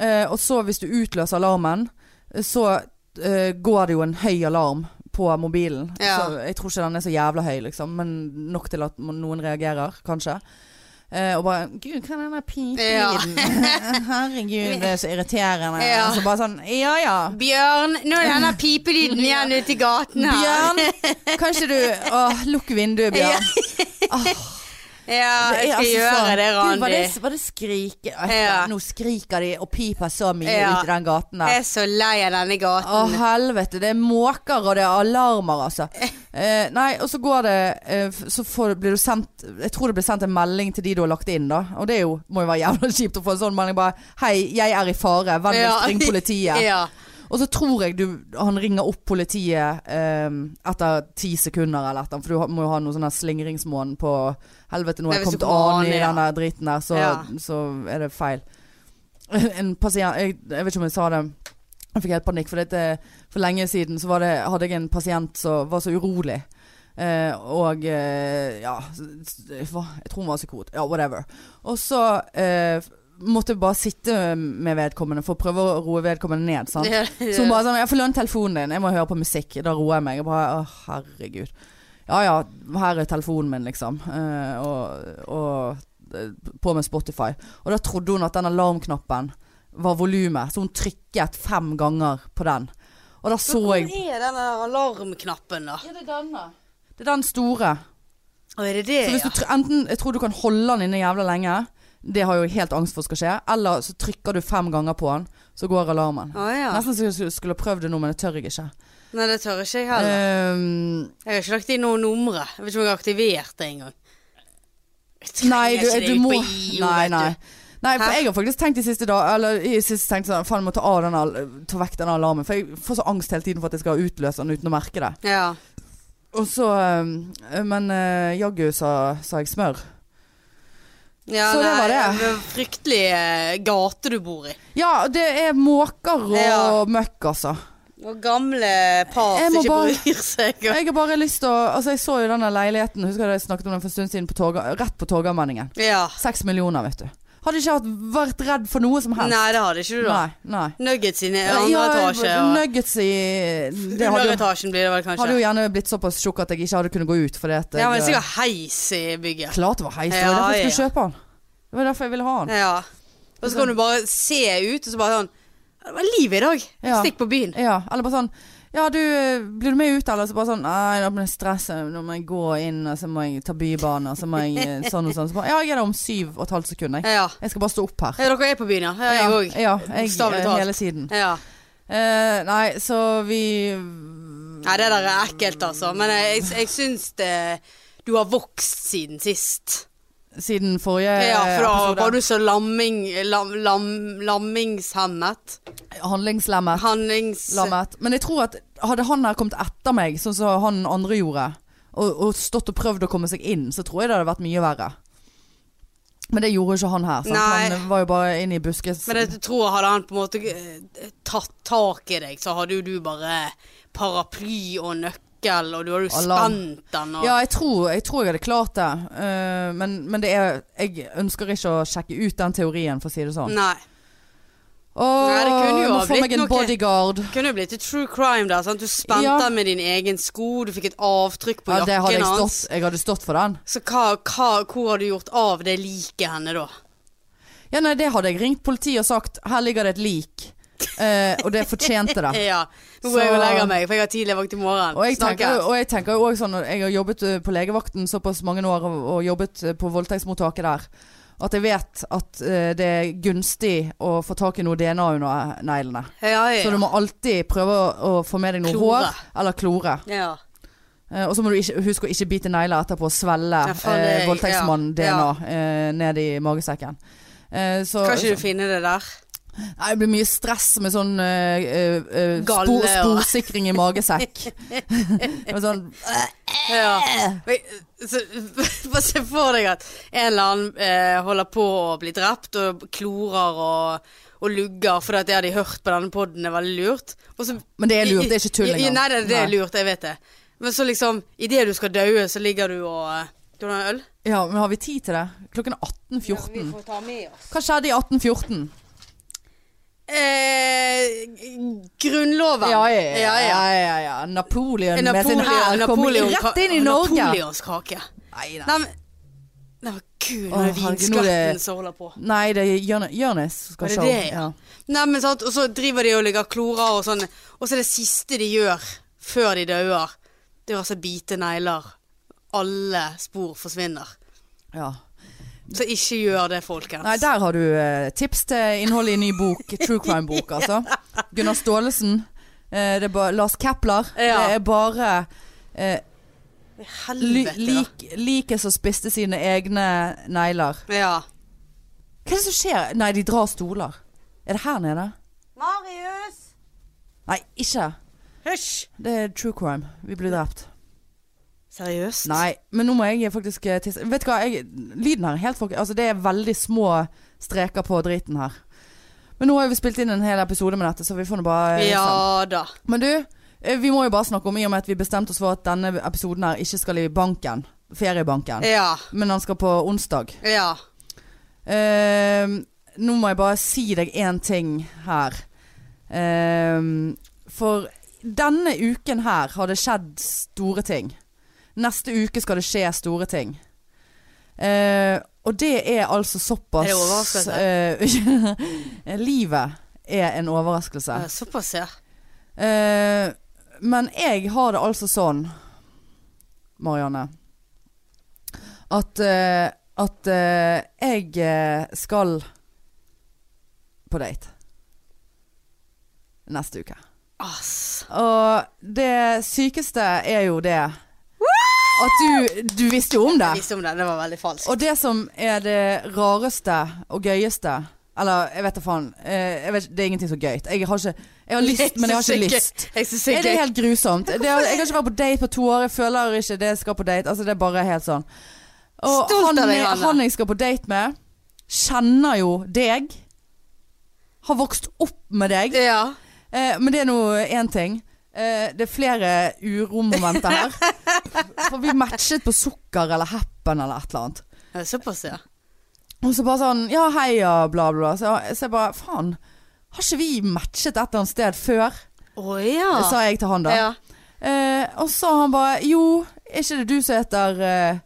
Speaker 1: Eh, og så hvis du utløser alarmen, så eh, går det jo en høy alarm på mobilen.
Speaker 2: Ja.
Speaker 1: Så jeg tror ikke den er så jævla høy, liksom, men nok til at noen reagerer, kanskje. Eh, og bare 'Gud, hva er den der pipelyden?' Herregud, det er så irriterende.
Speaker 2: Ja.
Speaker 1: Og Så bare sånn 'Ja ja'.
Speaker 2: Bjørn, nå er denne pipelyden igjen ute i gaten her.
Speaker 1: Bjørn, kanskje du Åh, lukk vinduet, Bjørn.
Speaker 2: Ja, jeg
Speaker 1: er
Speaker 2: skal
Speaker 1: altså
Speaker 2: gjøre
Speaker 1: sånn-
Speaker 2: det,
Speaker 1: Gud, var
Speaker 2: Randi.
Speaker 1: det, var det skrike
Speaker 2: Ja.
Speaker 1: Nå skriker de og piper så mye
Speaker 2: Ja.
Speaker 1: ut i den gaten der.
Speaker 2: Jeg er så lei av
Speaker 1: Å,
Speaker 2: denne gaten.
Speaker 1: helvete. Det er måker og det er alarmer, altså. Eh, nei, og så går det eh, f- Så får, blir du sendt Jeg tror det blir sendt en melding til de du har lagt inn, da. Og det er jo, må jo være jævla kjipt å få en sånn melding bare 'Hei, jeg er i fare.
Speaker 2: Ja.
Speaker 1: Vennligst ring politiet'.
Speaker 2: Ja.
Speaker 1: Og så tror jeg du, han ringer opp politiet eh, etter ti sekunder eller et eller annet, for du har- må jo ha noe sånn her slingringsmåned på Helvete, nå har
Speaker 2: Nei,
Speaker 1: jeg
Speaker 2: hvis du
Speaker 1: kommet
Speaker 2: kommer
Speaker 1: an
Speaker 2: an,
Speaker 1: i
Speaker 2: ja.
Speaker 1: den der driten der, så,
Speaker 2: Ja.
Speaker 1: så er det feil. en pasient jeg, jeg vet ikke om jeg sa det. Jeg fikk helt panikk, for dette, for lenge siden så var det, hadde jeg en pasient som var så urolig. Eh, og eh, ja s- s- hva? Jeg tror hun var psykot. Ja, whatever. Og så eh, måtte jeg bare sitte med vedkommende for å prøve å roe vedkommende ned. Sant? Så hun bare sånn 'Jeg får låne telefonen din, jeg må høre på musikk'. Da roer jeg meg. Jeg bare 'Å, herregud'. Ja ja, her er telefonen min, liksom. Eh, og og eh, på med Spotify. Og da trodde hun at den alarmknappen var volumet, så hun trykket fem ganger på den. Og da så
Speaker 2: Hvor
Speaker 1: jeg
Speaker 2: er den der alarmknappen, da?
Speaker 1: Ja, det er denne. Det er den store.
Speaker 2: Å, er det det,
Speaker 1: Så hvis du tr
Speaker 2: ja?
Speaker 1: enten Jeg tror du kan holde den inne jævla lenge. Det har jeg jo helt angst for skal skje. Eller så trykker du fem ganger på den, så går alarmen.
Speaker 2: Å ja.
Speaker 1: Nesten så jeg skulle- skulle prøvd det nå, men det tør jeg ikke.
Speaker 2: Nei, det tør ikke jeg heller.
Speaker 1: Ehm,
Speaker 2: Jeg har ikke lagt inn noe numre. Jeg vet ikke om jeg har aktivert det engang. Jeg trenger
Speaker 1: Nei, du,
Speaker 2: ikke det
Speaker 1: du
Speaker 2: ut
Speaker 1: må
Speaker 2: på IO,
Speaker 1: Nei,
Speaker 2: vet du.
Speaker 1: nei. Nei, for
Speaker 2: Hæ?
Speaker 1: jeg har faktisk tenkt i siste dag Eller i siste tenkt sånn Faen, jeg må ta, av den, al- ta vekk den alarmen. For jeg får så angst hele tiden for at jeg skal utløse den uten å merke det.
Speaker 2: Ja.
Speaker 1: Og så eh, Men eh, jaggu sa, sa jeg smør.
Speaker 2: ja
Speaker 1: Så det
Speaker 2: nei,
Speaker 1: Sånn var det.
Speaker 2: er Fryktelig eh, gate du bor i.
Speaker 1: Ja, det er måker og
Speaker 2: Ja.
Speaker 1: møkk, altså.
Speaker 2: Og gamle par
Speaker 1: Jeg
Speaker 2: som
Speaker 1: må
Speaker 2: ikke
Speaker 1: bare-
Speaker 2: bryr seg.
Speaker 1: Jeg har bare lyst til å Altså, jeg så jo denne leiligheten, husker jeg snakket om den for en stund siden, på Torga, rett på Torgallmenningen.
Speaker 2: Ja.
Speaker 1: Seks millioner, vet du. Hadde ikke hatt, vært redd for noe som helst.
Speaker 2: Nei, det hadde ikke du, da.
Speaker 1: nei. nei.
Speaker 2: Nuggets i ne- andre etasje. Og
Speaker 1: Eh, Nuggets i Det hadde jo,
Speaker 2: Underetasjen blir det vel kanskje.
Speaker 1: hadde jo gjerne blitt såpass tjukk at jeg ikke hadde kunnet gå ut. Fordi at
Speaker 2: ja, men det er
Speaker 1: jeg, eh,
Speaker 2: sikkert heis i bygget.
Speaker 1: Klart det var heis. Det
Speaker 2: Ja,
Speaker 1: var derfor jeg
Speaker 2: ja.
Speaker 1: skulle kjøpe den. Det var derfor jeg ville ha den.
Speaker 2: Ja. Og så kan du bare se ut, og så bare sånn Det var liv i dag.
Speaker 1: Ja.
Speaker 2: Stikk på byen.
Speaker 1: Ja, eller bare sånn Ja, du, blir du med ut, eller? Så bare sånn Nei, da blir jeg stresset. Nå må jeg gå inn, og så må jeg ta Bybanen, og så må jeg eh, sånn og sånn. Så bare, ja, jeg er der om syv og et halvt sekund, jeg.
Speaker 2: Ja.
Speaker 1: Jeg skal bare stå opp her.
Speaker 2: ja dere er på byen, ja. Ja, Jeg òg.
Speaker 1: Ja, jeg,
Speaker 2: Bokstavelig
Speaker 1: eh,
Speaker 2: talt.
Speaker 1: hele tiden.
Speaker 2: Ja.
Speaker 1: Eh, nei, så vi
Speaker 2: Nei, det der er ekkelt, altså. Men jeg, jeg, jeg syns det Du har vokst siden sist.
Speaker 1: Siden forrige
Speaker 2: Ja, for da
Speaker 1: Eh, episode
Speaker 2: var du så lamming... Lam, lam, lammingshemmet.
Speaker 1: Handlingslemmet.
Speaker 2: Handlings...
Speaker 1: lammet. Men jeg tror at hadde han her kommet etter meg, sånn som han andre gjorde, og, og stått og prøvd å komme seg inn, så tror jeg det hadde vært mye verre. Men det gjorde jo ikke han her. Sant?
Speaker 2: Nei.
Speaker 1: Han var jo bare inne i buskes.
Speaker 2: Men jeg tror hadde han på en måte eh, tatt tak i deg, så hadde jo du bare paraply og nøkkel, og du hadde jo
Speaker 1: Alarm.
Speaker 2: spent den og
Speaker 1: Ja, jeg tror, jeg tror jeg hadde klart det. Eh, men men det er, jeg ønsker ikke å sjekke ut den teorien, for å si det sånn.
Speaker 2: Nei.
Speaker 1: Åh,
Speaker 2: Nei, det kunne jo
Speaker 1: jeg må
Speaker 2: ha
Speaker 1: få
Speaker 2: blitt
Speaker 1: meg en
Speaker 2: noe-
Speaker 1: bodyguard.
Speaker 2: Det kunne jo blitt et true crime der. sant? Du spente
Speaker 1: Ja.
Speaker 2: den med din egen sko, du fikk et avtrykk på
Speaker 1: Ja, det hadde
Speaker 2: jakken
Speaker 1: jeg
Speaker 2: hans.
Speaker 1: stått. Jeg hadde stått for den.
Speaker 2: Så hva, hva, hvor har du gjort av det liket henne, da?
Speaker 1: Ja, nei, det hadde jeg ringt politiet og sagt. Her ligger det et lik. Eh, og det fortjente det.
Speaker 2: Ja. Nå
Speaker 1: Så-
Speaker 2: går jeg og legger meg, for jeg har tidlig vakt i morgen.
Speaker 1: Og jeg tenker,
Speaker 2: Snakkes.
Speaker 1: og jeg tenker jo også sånn Jeg har jobbet eh, på legevakten såpass mange år og, og jobbet eh, på voldtektsmottaket der. At jeg vet at eh, det er gunstig å få tak i noe DNA under neglene.
Speaker 2: Ja, ja.
Speaker 1: Så du må alltid prøve å, å få med deg noe
Speaker 2: Klore.
Speaker 1: hår eller klore.
Speaker 2: ja.
Speaker 1: Eh, og så må du ikke, huske å ikke bite negler etterpå og svelle
Speaker 2: Ja, faen,
Speaker 1: eh,
Speaker 2: det-
Speaker 1: voldtektsmannen
Speaker 2: ja, ja.
Speaker 1: DNA eh, ned i magesekken. Eh, så,
Speaker 2: Kan ikke du finne det der?
Speaker 1: Nei, det blir mye stress med sånn eh, eh, eh,
Speaker 2: Galle
Speaker 1: spor,
Speaker 2: og-
Speaker 1: sporsikring i magesekk. Det var sånn,
Speaker 2: Ja.
Speaker 1: Eh.
Speaker 2: Men, så, bare se for deg at en eller annen eh, holder på å bli drept, og klorer og, og lugger, for det har de hørt på denne podden er veldig lurt. Og så,
Speaker 1: men det er lurt, det er ikke tull
Speaker 2: I- i-
Speaker 1: engang.
Speaker 2: Nei, det, det er lurt, jeg vet det. Men så liksom, idet du skal daue, så ligger du og eh, Du har en øl?
Speaker 1: Ja, men har vi tid til det? Klokken er 18.14.
Speaker 2: får ta med oss.
Speaker 1: Hva skjedde i 1814?
Speaker 2: Eh, g- grunnloven.
Speaker 1: Ja, ja, ja.
Speaker 2: ja.
Speaker 1: ja, ja. Napoleon, med sin
Speaker 2: Napoleon,
Speaker 1: hær kom
Speaker 2: Napoleon,
Speaker 1: rett inn i Norge.
Speaker 2: Napoleonskake.
Speaker 1: Nei, nei.
Speaker 2: Nei, men Nei, men gud, nå
Speaker 1: Å,
Speaker 2: er
Speaker 1: herregud, nå er det-
Speaker 2: vinskvetten som holder på.
Speaker 1: nei, det er Jørn- Jørnis
Speaker 2: Var
Speaker 1: skal
Speaker 2: det
Speaker 1: show.
Speaker 2: det, ja? Nei, men sant, og så driver de og ligger klorer og sånn, og så er det siste de gjør før de dauer, det er altså bite negler. Alle spor forsvinner.
Speaker 1: Ja.
Speaker 2: Så ikke gjør det, folkens.
Speaker 1: Nei, der har du eh, tips til innholdet i ny bok. True crime-bok, altså. Gunnar Staalesen. eh, det er bare Lars Kepler.
Speaker 2: Ja.
Speaker 1: Det er bare eh, li,
Speaker 2: Helvete, da.
Speaker 1: lik, Liket som spiste sine egne negler.
Speaker 2: Ja.
Speaker 1: Hva er det som skjer? Nei, de drar stoler. Er det her nede?
Speaker 2: Marius!
Speaker 1: Nei, ikke.
Speaker 2: Hysj!
Speaker 1: Det er true crime. Vi blir drept.
Speaker 2: Seriøst?
Speaker 1: Nei, men nå må jeg faktisk eh, tisse. Vet du hva, jeg, lyden her er helt folk... Altså, det er veldig små streker på driten her. Men nå har jo vi spilt inn en hel episode med dette, så vi får nå bare eh, sende.
Speaker 2: Ja da.
Speaker 1: Men du, eh, vi må jo bare snakke om, i og med at vi bestemte oss for at denne episoden her ikke skal i banken. Feriebanken.
Speaker 2: Ja.
Speaker 1: Men han skal på onsdag.
Speaker 2: Ja.
Speaker 1: Eh, nå må jeg bare si deg én ting her. Eh, for denne uken her har det skjedd store ting. Neste uke skal det skje store ting. Eh, og det er altså såpass
Speaker 2: Er det overraskelse?
Speaker 1: eh, livet er en overraskelse.
Speaker 2: Eh, Såpass, ja.
Speaker 1: Eh, men jeg har det altså sånn, Marianne, at, eh, at eh, jeg eh, skal på date neste uke.
Speaker 2: Ass.
Speaker 1: Og det sykeste er jo det at du, du visste jo om det.
Speaker 2: Jeg visste om det. Det var veldig falskt.
Speaker 1: Og det som er det rareste og gøyeste Eller jeg vet da faen. eh, Jeg vet, det er ingenting så gøy. Jeg har ikke Jeg har lyst, men jeg har ikke lyst.
Speaker 2: Jeg synes det
Speaker 1: Er
Speaker 2: er
Speaker 1: det
Speaker 2: gøy.
Speaker 1: helt grusomt? Det er, jeg har ikke vært på date på to år. Jeg føler ikke det jeg skal på date. Altså, det er bare helt sånn. Og
Speaker 2: Stolt av
Speaker 1: han,
Speaker 2: deg,
Speaker 1: jeg-
Speaker 2: Hanne.
Speaker 1: han jeg skal på date med, kjenner jo deg. Har vokst opp med deg.
Speaker 2: Ja.
Speaker 1: Eh, men det er nå én ting. Eh, det er flere uromomenter her. For vi matchet på sukker eller happen eller et eller annet.
Speaker 2: Eh, Såpass, ja.
Speaker 1: Og så bare sånn Ja, heia, bla, bla. Så, så jeg bare Faen, har ikke vi matchet et eller annet sted før?
Speaker 2: Å ja.
Speaker 1: Sa jeg til han da.
Speaker 2: ja.
Speaker 1: Eh, og så han bare Jo, er ikke det du som heter eh,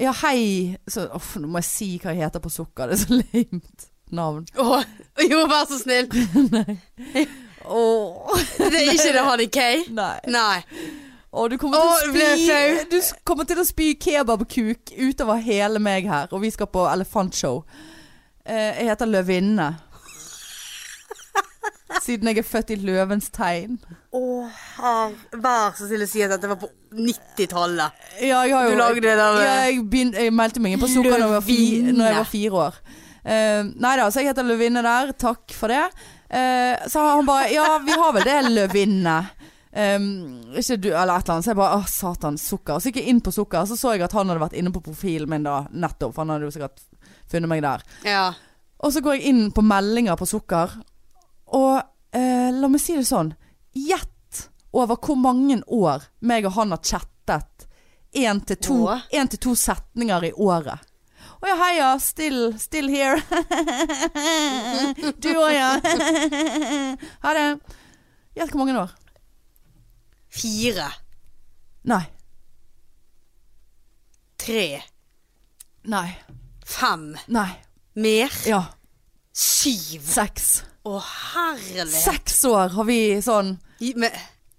Speaker 1: Ja, hei så, off, Nå må jeg si hva jeg heter på sukker. Det er så lamet navn.
Speaker 2: Å, jo, vær så snill.
Speaker 1: Åh,
Speaker 2: Det er ikke det Honey K.
Speaker 1: nei.
Speaker 2: Nei.
Speaker 1: Åh, du kommer
Speaker 2: Åh,
Speaker 1: til
Speaker 2: ble
Speaker 1: å
Speaker 2: jeg
Speaker 1: spy
Speaker 2: flau?
Speaker 1: Du s- kommer til å spy kebabkuk utover hele meg her. Og vi skal på elefantshow. Eh, jeg heter Løvinne. Siden jeg er født i løvens tegn.
Speaker 2: Å, herre Vær så snill å si at dette var på 90-tallet.
Speaker 1: Ja, jeg har jo
Speaker 2: Du lagde det der med-
Speaker 1: ja, jeg, begyn- jeg meldte meg inn på Sukker når jeg var, fi,
Speaker 2: Løvinne.
Speaker 1: når jeg var fire år. Uh, nei da, så jeg heter Løvinne der. Takk for det. Eh, så han bare Ja, vi har vel det, Løvinne. Um, ikke du, eller et eller annet. Så jeg bare Å, satan, sukker. Og så gikk jeg inn på sukker, så så jeg at han hadde vært inne på profilen min da, nettopp. For han hadde jo sikkert funnet meg der.
Speaker 2: Ja.
Speaker 1: Og så går jeg inn på meldinger på sukker. Og eh, la meg si det sånn. Gjett over hvor mange år meg og han har chattet. Én til to,
Speaker 2: Åh.
Speaker 1: en til to setninger i året. Å ja, heia. Still, still here. du òg, ja. ha det. Gjett hvor mange år.
Speaker 2: Fire.
Speaker 1: Nei.
Speaker 2: Tre.
Speaker 1: Nei.
Speaker 2: Fem.
Speaker 1: Nei.
Speaker 2: Mer.
Speaker 1: Ja.
Speaker 2: Syv.
Speaker 1: Seks.
Speaker 2: Å, herlighet.
Speaker 1: Seks år har vi sånn
Speaker 2: Gi- Med,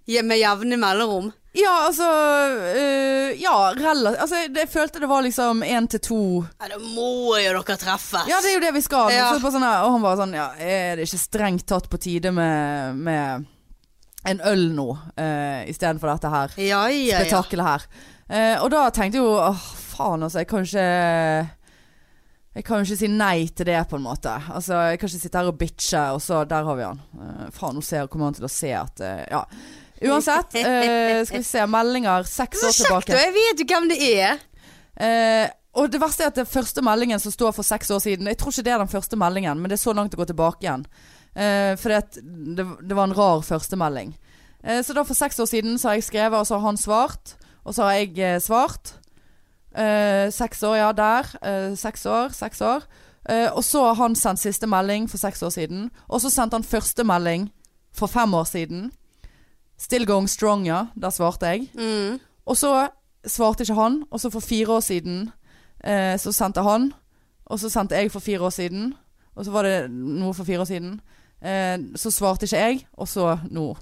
Speaker 2: gi- med jevne mellomrom.
Speaker 1: Ja, altså øh, Ja, relativt altså, det- Jeg følte det var liksom én til to
Speaker 2: Ja, da må jo dere treffes.
Speaker 1: Ja, det er jo det vi skal.
Speaker 2: Ja.
Speaker 1: Så det er bare sånn her, og han bare sånn Ja, er det ikke strengt tatt på tide med, med en øl nå, uh, istedenfor dette her
Speaker 2: ja, ja, ja.
Speaker 1: spetakkelet her? Eh, og da tenkte jeg jo åh, faen altså, jeg kan ikke jeg kan jo ikke si nei til det, på en måte. Altså, Jeg kan ikke sitte her og bitche, og så der har vi han. Eh, faen, nå ser, kommer han til å se at eh, Ja. Uansett, eh, skal vi se. Meldinger seks
Speaker 2: Så
Speaker 1: år
Speaker 2: kjekt,
Speaker 1: tilbake.
Speaker 2: og jeg vet jo hvem det er.
Speaker 1: Eh, og det verste er at den første meldingen som står for seks år siden Jeg tror ikke det er den første meldingen, men det er så langt å gå tilbake igjen. Eh, for det, det, det var en rar førstemelding. Eh, så da for seks år siden så har jeg skrevet, og så har han svart. Og så har jeg eh, svart. Eh, seks år, ja, der. Eh, seks år, seks år. Eh, og så har han sendt siste melding for seks år siden. Og så sendte han første melding for fem år siden. Still going strong, ja. Der svarte jeg.
Speaker 2: Mm.
Speaker 1: Og så svarte ikke han, og så for fire år siden eh, så sendte han, og så sendte jeg for fire år siden, og så var det noe for fire år siden. Eh, så svarte ikke jeg, og så nå.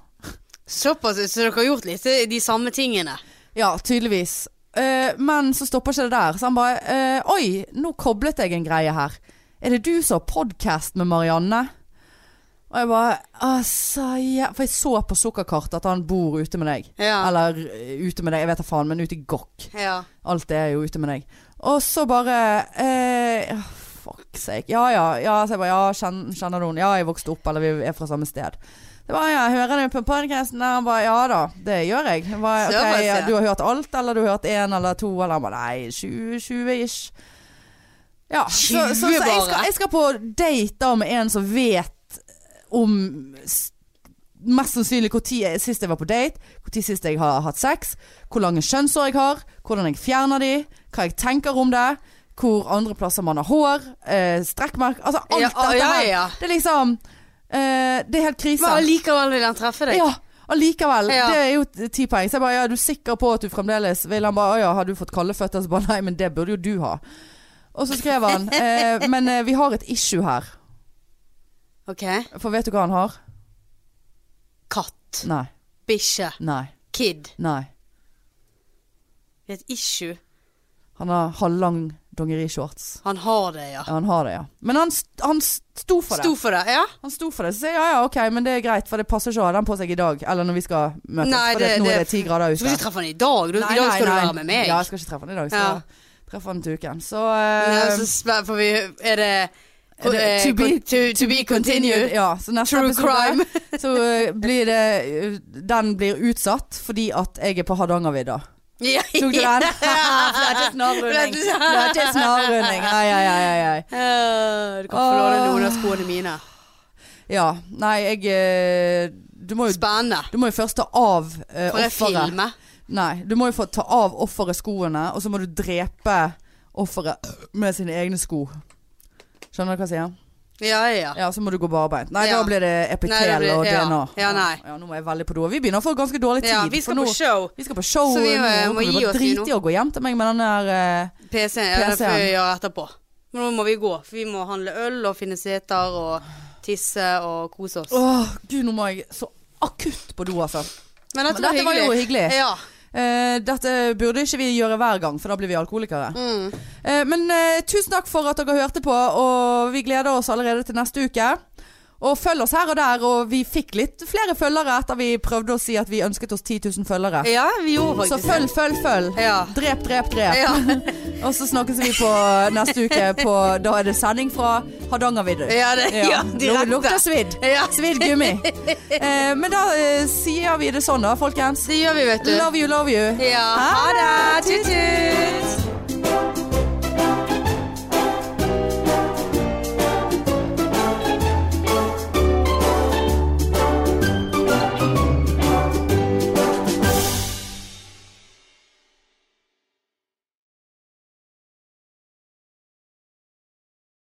Speaker 2: Såpass, så dere har gjort litt eh, de samme tingene.
Speaker 1: Ja, tydeligvis. Eh, men så stopper ikke det der. Så han bare eh, Oi, nå koblet jeg en greie her. Er det du som har podkast med Marianne? Og jeg bare Altså, ja. For jeg så på sukkerkartet at han bor ute med deg.
Speaker 2: Ja.
Speaker 1: Eller eh, ute med deg, jeg vet da faen, men ute i gokk.
Speaker 2: ja.
Speaker 1: Alt det er jo ute med deg. Og så bare eh, ja, Fuck sake. Ja ja. ja så jeg bare, ja kjen, kjenner du henne? Ja, jeg vokste opp, eller vi er fra samme sted. Det bare, ja, Hører du på podkasten? Han bare ja da, det gjør jeg. jeg bare,
Speaker 2: Såpass,
Speaker 1: «Ok,
Speaker 2: ja.»
Speaker 1: du har hørt alt, eller du har hørt én eller to, eller han bare nei, 20, 20 ish. Ja, så, så, så,
Speaker 2: 20
Speaker 1: jeg,
Speaker 2: bare.
Speaker 1: skal, jeg skal på date da med en som vet om s- mest sannsynlig hvor tid jeg, sist jeg var på date, hvor tid sist jeg har hatt sex, hvor lange kjønnsår jeg har, hvordan jeg fjerner de, hva jeg tenker om det, hvor andre plasser man har hår, eh, strekkmerk, altså alt
Speaker 2: Ja,
Speaker 1: dette
Speaker 2: ja,
Speaker 1: her.
Speaker 2: ja.
Speaker 1: Det er liksom eh, Det er helt krise.
Speaker 2: Men allikevel vil han treffe deg.
Speaker 1: Ja, allikevel.
Speaker 2: Ja.
Speaker 1: Det er jo t- ti poeng. Så jeg bare, ja, er du sikker på at du fremdeles vil? Han bare, «Å ja, har du fått kalde føtter? Så bare, nei, men det burde jo du ha. Og så skrev han, eh, men eh, vi har et issue her.
Speaker 2: OK.
Speaker 1: For vet du hva han har?
Speaker 2: Katt.
Speaker 1: Nei,
Speaker 2: Bikkje.
Speaker 1: nei,
Speaker 2: Kid.
Speaker 1: nei.
Speaker 2: Det er et issue.
Speaker 1: Han har halvlang dongerishorts.
Speaker 2: Han har det, ja.
Speaker 1: Ja, han har det, ja. Men han, st- han st- sto for det.
Speaker 2: Sto for det, ja?
Speaker 1: Han sto for det. Så sier jeg, ja, ja, ok, men det er greit, for det passer ikke å ha den på seg i dag. Eller når vi skal møtes.
Speaker 2: Nei,
Speaker 1: for det,
Speaker 2: det-
Speaker 1: nå er
Speaker 2: det-
Speaker 1: det ti grader
Speaker 2: Du skal
Speaker 1: ute.
Speaker 2: ikke treffe han i dag. Du,
Speaker 1: Nei,
Speaker 2: I dag
Speaker 1: nei,
Speaker 2: skal
Speaker 1: nei.
Speaker 2: du være med meg.
Speaker 1: Ja, jeg skal ikke treffe han i dag. Så
Speaker 2: Ja.
Speaker 1: treffer han til uken. Så,
Speaker 2: Ja,
Speaker 1: eh,
Speaker 2: så spe- får vi Er det eh,
Speaker 1: Er det to be-
Speaker 2: to, to be continued?
Speaker 1: Ja, så neste
Speaker 2: True
Speaker 1: episode
Speaker 2: crime.
Speaker 1: så eh, blir det eh, Den blir utsatt fordi at jeg er på Hardangervidda.
Speaker 2: Ja.
Speaker 1: Tok du den? Flate snarrunding. Flate snarrunding. Ai, ai, ai, ai, ai.
Speaker 2: Eh, Du kan få låne noen av skoene mine.
Speaker 1: Ja. Nei, jeg eh, Du må jo
Speaker 2: Spennende.
Speaker 1: du må jo først ta av eh,
Speaker 2: For jeg
Speaker 1: offeret.
Speaker 2: filmer.
Speaker 1: Nei, du må jo få ta av offeret skoene, og så må du drepe offeret med sine egne sko. Skjønner du hva jeg sier?
Speaker 2: Ja, ja.
Speaker 1: Ja, så må du gå barbeint. Nei,
Speaker 2: Ja.
Speaker 1: da blir det
Speaker 2: Nei, da
Speaker 1: epitel
Speaker 2: blir-
Speaker 1: og
Speaker 2: ja.
Speaker 1: DNA.
Speaker 2: Ja, nei.
Speaker 1: Ja, nå er jeg veldig på do. Vi begynner å få ganske dårlig tid.
Speaker 2: ja vi
Speaker 1: for
Speaker 2: skal
Speaker 1: nå-
Speaker 2: på show.
Speaker 1: Vi skal på show.
Speaker 2: Så vi,
Speaker 1: nå
Speaker 2: eh,
Speaker 1: kan
Speaker 2: må
Speaker 1: du
Speaker 2: gi
Speaker 1: bare
Speaker 2: oss vi
Speaker 1: drite
Speaker 2: nå.
Speaker 1: i å gå hjem til meg med den der eh,
Speaker 2: PC, ja, det
Speaker 1: PC.
Speaker 2: får vi gjøre etterpå. Men nå må vi gå, for vi må handle øl og finne seter og tisse og kose oss.
Speaker 1: Åh, gud, nå må jeg så akutt på do, altså.
Speaker 2: Men dette,
Speaker 1: Men dette var jo hyggelig.
Speaker 2: Ja.
Speaker 1: Eh, dette burde ikke vi gjøre hver gang, for da blir vi alkoholikere.
Speaker 2: Mm.
Speaker 1: Eh, men eh, tusen takk for at dere hørte på, og vi gleder oss allerede til neste uke. Og følg oss her og der, og vi fikk litt flere følgere etter vi prøvde å si at vi ønsket oss 10 000 følgere.
Speaker 2: ja, vi gjorde
Speaker 1: Så
Speaker 2: faktisk det.
Speaker 1: følg, følg, følg.
Speaker 2: Ja.
Speaker 1: Drep, drep, drep.
Speaker 2: Ja.
Speaker 1: Og så snakkes vi på neste uke på Da er det sending fra Hardangervidda.
Speaker 2: ja, det, ja,
Speaker 1: Lu-
Speaker 2: direkte.
Speaker 1: Lukter svidd.
Speaker 2: Ja.
Speaker 1: Svidd gummi. Eh, men da eh, sier vi det sånn, da, folkens.
Speaker 2: Det gjør vi, vet du.
Speaker 1: Love you, love you.
Speaker 2: Ja, ha det. Tut-tut.